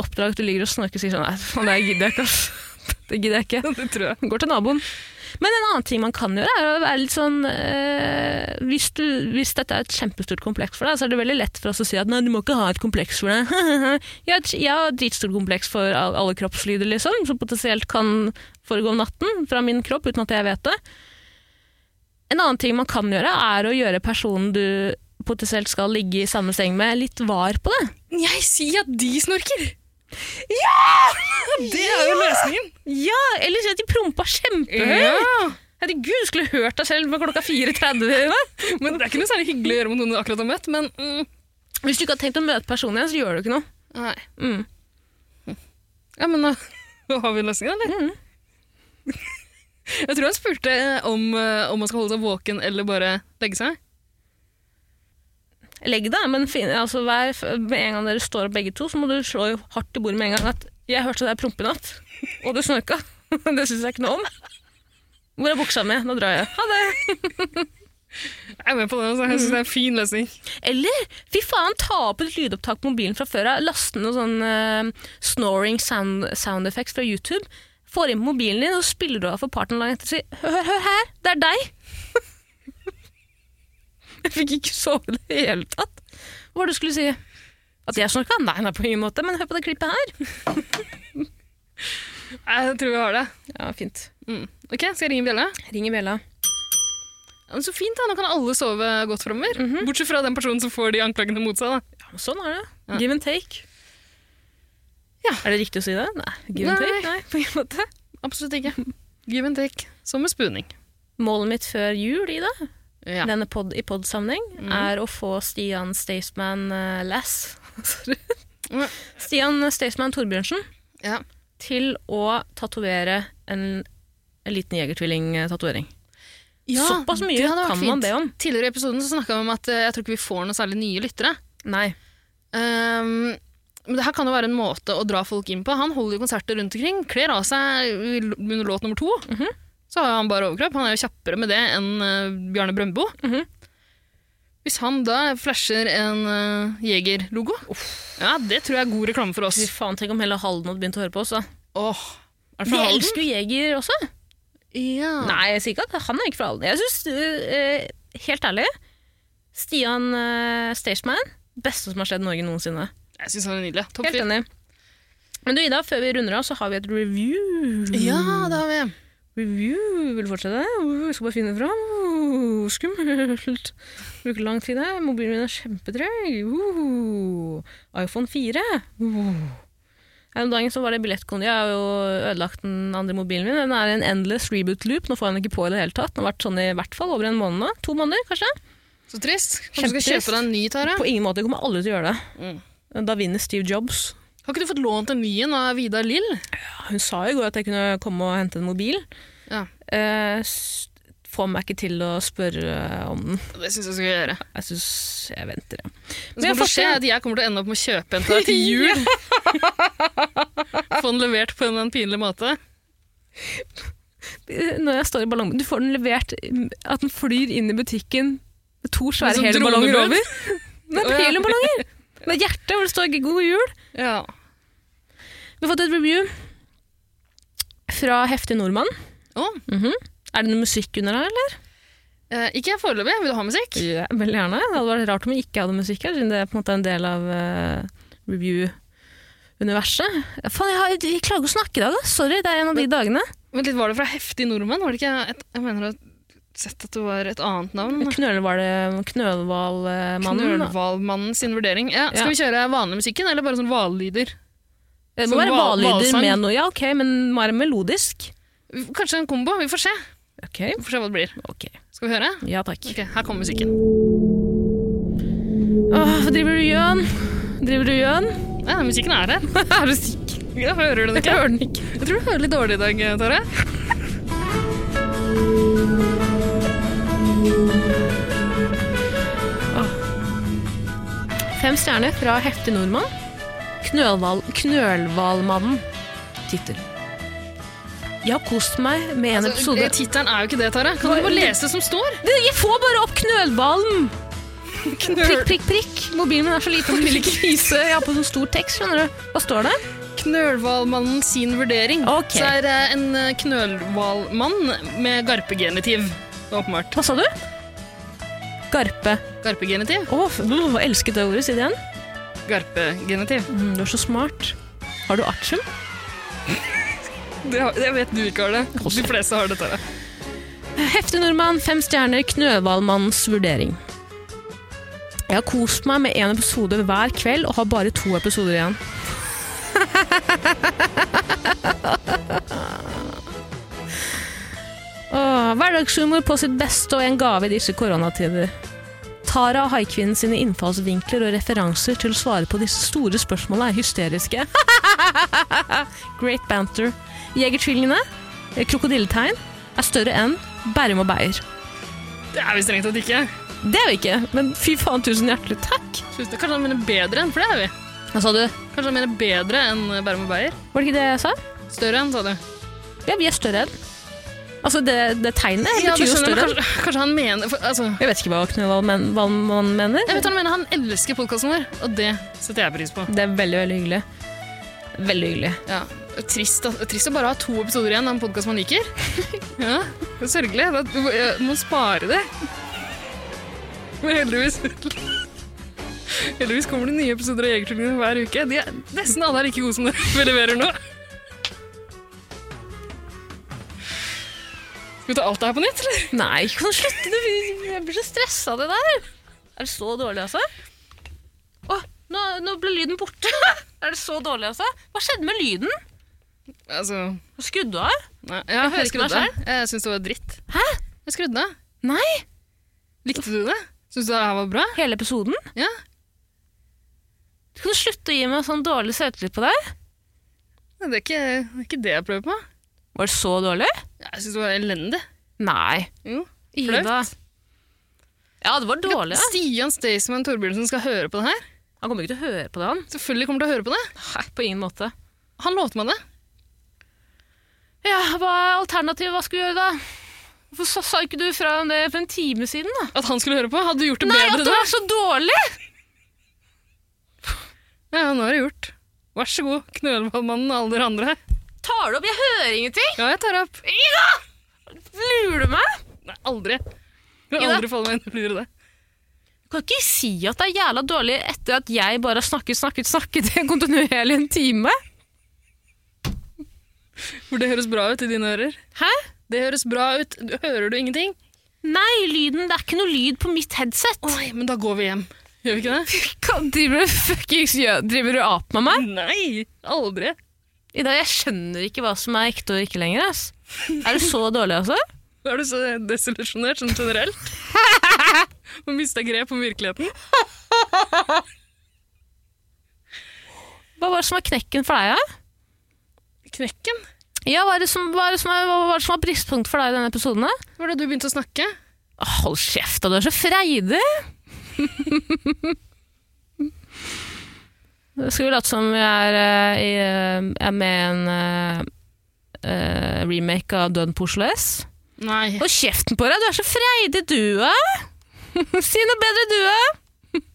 B: oppdager at du ligger og snorker og sier sånn Nei, faen, det gidder jeg ikke, ass. Det gidder jeg ikke.
A: Det tror jeg.
B: Går til naboen. Men en annen ting man kan gjøre, er å være litt sånn eh, hvis, du, hvis dette er et kjempestort kompleks for deg, så er det veldig lett for oss å si at nei, du må ikke ha et kompleks for deg. jeg har et- jeg har et dritstort kompleks for al- alle kroppslyder, liksom, som potensielt kan foregå om natten fra min kropp uten at jeg vet det. En annen ting man kan gjøre, er å gjøre personen du potensielt skal ligge i samme seng med, litt var på det.
A: Jeg sier at de snorker! Ja! Det er jo løsningen.
B: Ja, eller si at de prompa kjempehøyt. Herregud, skulle hørt deg selv med klokka 4.30 i dag.
A: Men det er ikke noe særlig hyggelig å gjøre mot noen du akkurat har møtt, men mm,
B: Hvis du ikke har tenkt å møte personen igjen, så gjør du ikke noe.
A: nei.
B: Mm.
A: Ja, men da, da har vi løsningen, eller?
B: Mm.
A: Jeg tror han spurte om, eh, om man skal holde seg våken eller bare legge seg.
B: Legg deg, men fin, altså, vær, med en gang dere står opp begge to, så må du slå hardt i bordet med en gang at jeg hørte deg prompe i natt, og du snorka. Det syns jeg ikke noe om. Hvor er buksa mi? Nå drar jeg. Ha det.
A: Jeg er med på det, altså. jeg synes det er
B: Mm.
A: en fin løsning.
B: Eller fy faen, ta opp et lydopptak på mobilen fra før av. Last ned noen sånn eh, snoring sound, sound effects fra YouTube. Får inn på mobilen din, og så spiller du av for partneren dagen etter og sier hør, hør her, det er deg. jeg fikk ikke sove i det hele tatt. Hva var det du skulle si? At jeg snorka? Nei, nei, på ingen måte, men hør på det klippet her.
A: Jeg tror vi har det.
B: Ja, fint.
A: Mm. Ok, skal jeg ringe bjella?
B: Ring i bjella.
A: Ja, men så fint da, nå kan alle sove godt fremover.
B: Mhm.
A: Bortsett fra den personen som får de anklagene mot seg da.
B: Ja, men sånn er det. Give and take.
A: Ja.
B: Er det riktig å si det? Nei, give and
A: Nei.
B: take. Nei, på ingen måte.
A: Absolutt ikke. Give and take. Som med spuning.
B: Målet mitt før jul, Ida,
A: Ja. Mm.
B: denne pod, i podsammenheng, er å få Stian Staysman eh, Lass Sorry.
A: Ja.
B: Stian Staysman Torbjørnsen
A: Ja.
B: til å tatovere en, en liten jegertvilling-tatovering. Såpass mye
A: det hadde vært
B: kan
A: fint.
B: man be om.
A: Tidligere i episoden så snakka vi om at eh, jeg tror ikke vi får noe særlig nye lyttere.
B: Nei.
A: Ehm, men det her kan jo være en måte å dra folk inn på. Han holder jo konserter rundt omkring, kler av seg under låt nummer to. Så har han bare overkropp. Han er jo kjappere med det enn eh, Bjarne Brøndbo.
B: Mhm.
A: Hvis han da flasher en uh, Jeger-logo, ja, det tror jeg er god reklame for
B: Fy
A: oss.
B: faen, tenk om hele Halden hadde begynt å høre på oss, da.
A: Åh, er det
B: De
A: fra Halden?
B: elsker jo jeger også.
A: Ja.
B: Nei, jeg sier ikke at han er ikke fra Halden. Jeg syns, helt ærlig, Stian uh, Staysman, beste som har skjedd Norge noensinne.
A: Jeg syns han er nydelig. Topp
B: Helt
A: fyr.
B: enig. Men du, Ida, før vi runder av, så har vi et review.
A: Ja, det har vi.
B: Review, Vil du fortsette? Uh, jeg skal bare finne det fram. Uh, skummelt. Bruker lang tid her. Mobilen min er kjempetreg. Uh, iPhone 4. Uh. Her om dagen så var det billettkonto. Jeg har jo ødelagt den andre mobilen min. Den er i en endless reboot loop. Nå får jeg den ikke på i det hele tatt. Den har vært sånn i hvert fall over en måned nå. To måneder, kanskje?
A: Så trist. Kanskje du skal
B: Kjempetrist.
A: kjøpe deg en ny, Tara?
B: På ingen måte. Jeg kommer aldri til å gjøre det. Da vinner Steve Jobs.
A: Har ikke du fått lånt en ny en av Vidar Lill?
B: Hun sa i går at jeg kunne komme og hente en mobil.
A: Ja.
B: Eh, s- får meg ikke til å spørre om den.
A: Det syns jeg skal gjøre.
B: Jeg syns jeg venter, ja.
A: Så kommer det å skje at jeg kommer til å ende opp med å kjøpe en til deg til jul. Få den levert på en eller annen pinlig måte.
B: når jeg står i ballongen Du får den levert At den flyr inn i butikken med to svære
A: sånn
B: hele ballonger
A: dronebud?
B: over. Med
A: Å, ja.
B: heliumballonger! Med hjerte hvor det står 'God jul'.
A: Ja.
B: Vi har fått et review fra Heftig nordmann.
A: Å,
B: Mhm. Er det noe musikk under her, eller?
A: eh, ikke jeg foreløpig. Vil du ha musikk?
B: Ja, veldig gjerne. Det hadde vært rart om vi ikke hadde musikk her, siden det er på en måte en del av eh, review-universet. Faen, jeg, har, jeg klarer ikke å snakke i dag, da. Sorry, det er en av de dagene.
A: Vent litt, Var det fra Heftig nordmann? Var det ikke et, jeg mener å ha sett at det var et annet navn.
B: eh, Knølhvalmannen. da.
A: Knølhvalmannen sin vurdering. Ja, skal
B: Ja.
A: vi kjøre vanlig musikken, eller bare sånn hvallyder?
B: Det
A: Som
B: Eh, må være
A: hval-
B: hvallyder
A: hvalsang.
B: med noe, ja, ok, men må være melodisk.
A: Kanskje en kombo? Vi får se.
B: Ok,
A: Vi får se hva det blir.
B: ok.
A: Skal vi høre?
B: Ja, takk.
A: Ok, Her kommer musikken.
B: Åh, hva driver du gjøn? Driver du gjøn?
A: Ja, den musikken er her. er du sikker? Ja, hører du den ikke?
B: Jeg hører den ikke.
A: Jeg tror du hører litt dårlig i dag, Tare.
B: Fem stjerner fra heftig nordmann. Knølval, knølvalmannen. Titter. Jeg har kost meg med en
A: Altså,
B: episode.
A: det- Tittelen er jo ikke det, Tare. Kan du ikke bare lese det som står?
B: Det- Jeg får bare opp knølvalen! Prikk, prikk, prikk. Mobilen min er så liten, den vil ikke vise. Jeg har på sånn stor tekst, skjønner du. Hva står det?
A: Knølhvalmannen sin vurdering.
B: Ok.
A: Så er det en eh, knølhvalmann med garpegenitiv. Åpenbart.
B: Hva sa du? Garpe.
A: Garpegenitiv?
B: Å, f- mm, jeg elsket det ordet, si det igjen.
A: Garpegenitiv.
B: Mm, du er så smart. Har du artium?
A: Det, har- jeg vet du ikke har det. De fleste har det, Tare.
B: Heftig nordmann, fem stjerner, knøvalmannens vurdering. Jeg har kost meg med én episode hver kveld og har bare to episoder igjen. Åh, hverdagshumor på sitt beste og en gave i disse koronatider. Tara og haikvinnen sine innfallsvinkler og referanser til å svare på disse store spørsmålene er hysteriske. Great banter. Jegertvillingene, eh, krokodilletegn, er større enn Bærum og Beyer.
A: Det er vi strengt tatt ikke.
B: Det er vi ikke, men fy faen, tusen hjertelig takk.
A: Tusen- Kanskje han mener bedre enn, for det er vi.
B: Hva sa du?
A: Kanskje han mener bedre enn eh, Bærum og Beyer.
B: Var det ikke det jeg sa?
A: Større enn, sa du.
B: Ja, vi er større enn. Altså, det, det tegnet
A: Ja, det
B: betyr jo
A: skjønner jeg, men
B: større enn.
A: Kanskje, kanskje han mener for, altså,
B: Jeg vet ikke hva Knut Valmann mener.
A: Jeg vet han mener han elsker podkasten vår, og det setter jeg pris på.
B: Det er veldig, veldig hyggelig. Veldig hyggelig.
A: Ja. Trist, da. Trist å bare ha to episoder igjen av en podkast man liker. Ja, det er Sørgelig. Da, du må- ja, du må spare det. Men heldigvis Heldigvis kommer det nye episoder av Jegertvillingene hver uke. De er Nesten alle er like gode som det vi leverer nå. Skal vi ta alt det her på nytt, eller?
B: Nei, kan du slutte? Du- Jeg blir så stressa av det der. Er det så dårlig, altså? Å, nå, nå ble lyden borte. Er det så dårlig, altså? Hva skjedde med lyden?
A: Altså,
B: Skrudde du av?
A: nei, ja, jeg
B: hører ikke meg
A: skrudde av. Jeg syns det var dritt. Hæ? Jeg skrudde av.
B: Nei.
A: Likte du det? Syns du det her var bra?
B: Hele episoden?
A: Ja.
B: Kan du slutte å gi meg sånn dårlig selvtillit på deg?
A: Det er ikke, det er ikke det jeg prøver på.
B: Var det så dårlig?
A: Jeg syns det var elendig.
B: Nei.
A: Jo.
B: Ida. Ja, det var dårlig. da.
A: Stian Staysman Torbjørnsen skal høre på det her.
B: Han kommer ikke til å høre på det, han.
A: Selvfølgelig kommer til å høre på det.
B: Nei, på ingen måte.
A: Han lovte meg det.
B: Ja, Hva er alternativet? Hva skulle du gjøre da? Hvorfor sa- sa ikke du fra om det for en time siden? da?
A: At han skulle høre på. Hadde du gjort det
B: Nei, at
A: bedre
B: det
A: da?
B: var så dårlig!
A: Ja, nå er det gjort. Vær så god, Knølvallmannen og alle dere andre.
B: Tar du opp? Jeg hører ingenting!
A: Ja, jeg tar opp.
B: Lurer du meg?
A: Nei, aldri. Jeg vil
B: Ida.
A: aldri falle meg inn i det.
B: Du kan ikke si at det er jævla dårlig etter at jeg bare har snakket, snakket, snakket kontinuerlig en time.
A: For det høres bra ut i dine ører.
B: Hæ?
A: Det høres bra ut. Du- Hører du ingenting?
B: Nei, lyden, det er ikke noe lyd på mitt headset.
A: Oi, men da går vi hjem. Gjør vi ikke det?
B: Kan- Driver du fuckings gjø- Driver du ap med meg?
A: Nei, aldri.
B: Ida, jeg skjønner ikke hva som er ekte og ikke lenger. Ass. Er du så dårlig, altså?
A: Er du så desillusjonert sånn generelt? Og mista grep om virkeligheten?
B: Hva var det som var knekken for deg? Ja?
A: Knekken?
B: Ja, hva er det som, hva er det som, er, hva var det som var bristepunkt for deg i denne episoden? da?
A: Det var da du begynte å snakke.
B: Åh, Hold kjeft, da, du er så freidig! Skal vi late som vi er, eh, i, eh, er med i en eh, eh, remake av Døden på Oslo S?
A: Nei.
B: Hold kjeften på deg, du er så freidig, du òg! si noe bedre, du òg!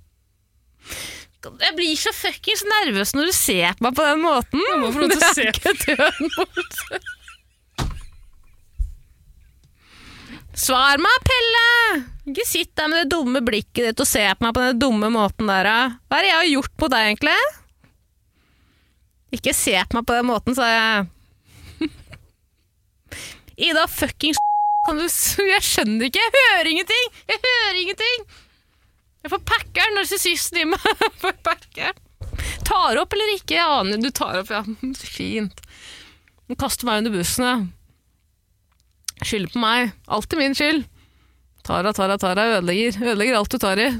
B: Jeg blir så fuckings nervøs når du ser på meg på den måten.
A: Jeg må få lov til å se på
B: Svar meg, Pelle! Ikke sitt der med det dumme blikket ditt og se på meg på den dumme måten der. da. Hva er det jeg har gjort på deg, egentlig? Ikke se på meg på den måten, sa jeg. Ida fuckings kan du s- Jeg skjønner ikke! Jeg hører ingenting! Jeg hører ingenting! Jeg får packeren, narsissisten i meg. Jeg får packeren. Tar opp eller ikke? Jeg aner Du tar opp, ja. Fint. Du kaster meg under bussen, ja. Skylder på meg. Alltid min skyld. Tara, Tara, Tara ødelegger. Ødelegger alt du tar i.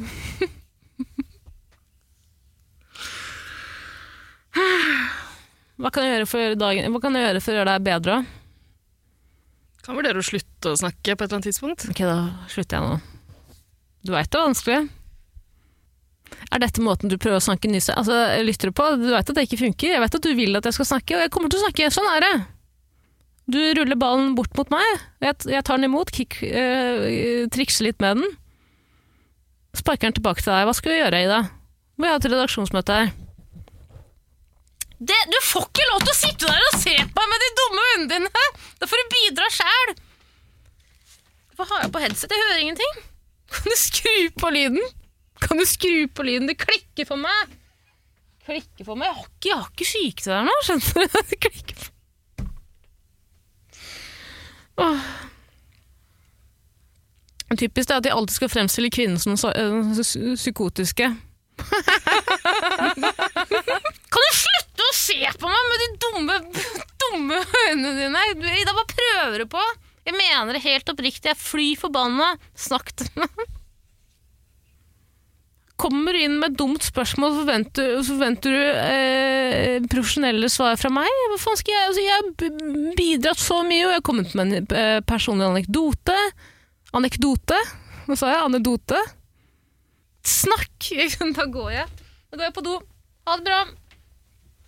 B: Hva kan jeg gjøre for å gjøre, dagen? Hva kan jeg gjøre, for å gjøre deg bedre?
A: Kan vurdere å slutte å snakke på et eller annet tidspunkt.
B: Ok, da slutter jeg nå. Du veit det er vanskelig. Er dette måten du prøver å snakke nyse? Altså, jeg lytter du på? Du veit at det ikke funker. Jeg veit at du vil at jeg skal snakke, og jeg kommer til å snakke. Sånn er det. Du ruller ballen bort mot meg. Jeg, jeg tar den imot, kick, øh, trikser litt med den. Sparker den tilbake til deg. Hva skal vi gjøre, Ida? Vi har et redaksjonsmøte her. Det, du får ikke lov til å sitte der og se på meg med de dumme øynene dine! Da får du bidra sjæl! Hva har jeg på headset? Jeg hører ingenting. Kan du skru på lyden? Kan du skru på lyden? Det klikker for meg. Klikker for meg. Jeg har ikke, jeg har ikke syke til deg nå, skjønner du? Det klikker for Åh. Typisk det er at de alltid skal fremstille kvinnen som så, øh, psy- psykotiske. kan du slutte å se på meg med de dumme, dumme øynene dine? Du, Ida, hva prøver du på? Jeg mener det helt oppriktig. Jeg er fly forbanna. Snakk til meg. Kommer du inn med et dumt spørsmål, så forventer, så forventer du eh, profesjonelle svar fra meg? Hva faen skal jeg? Altså, jeg har b- bidratt så mye, og jeg har kommet med en eh, personlig anekdote. Anekdote? Hva sa jeg? Anekdote? Snakk! da går jeg. Da går jeg på do. Ha det bra.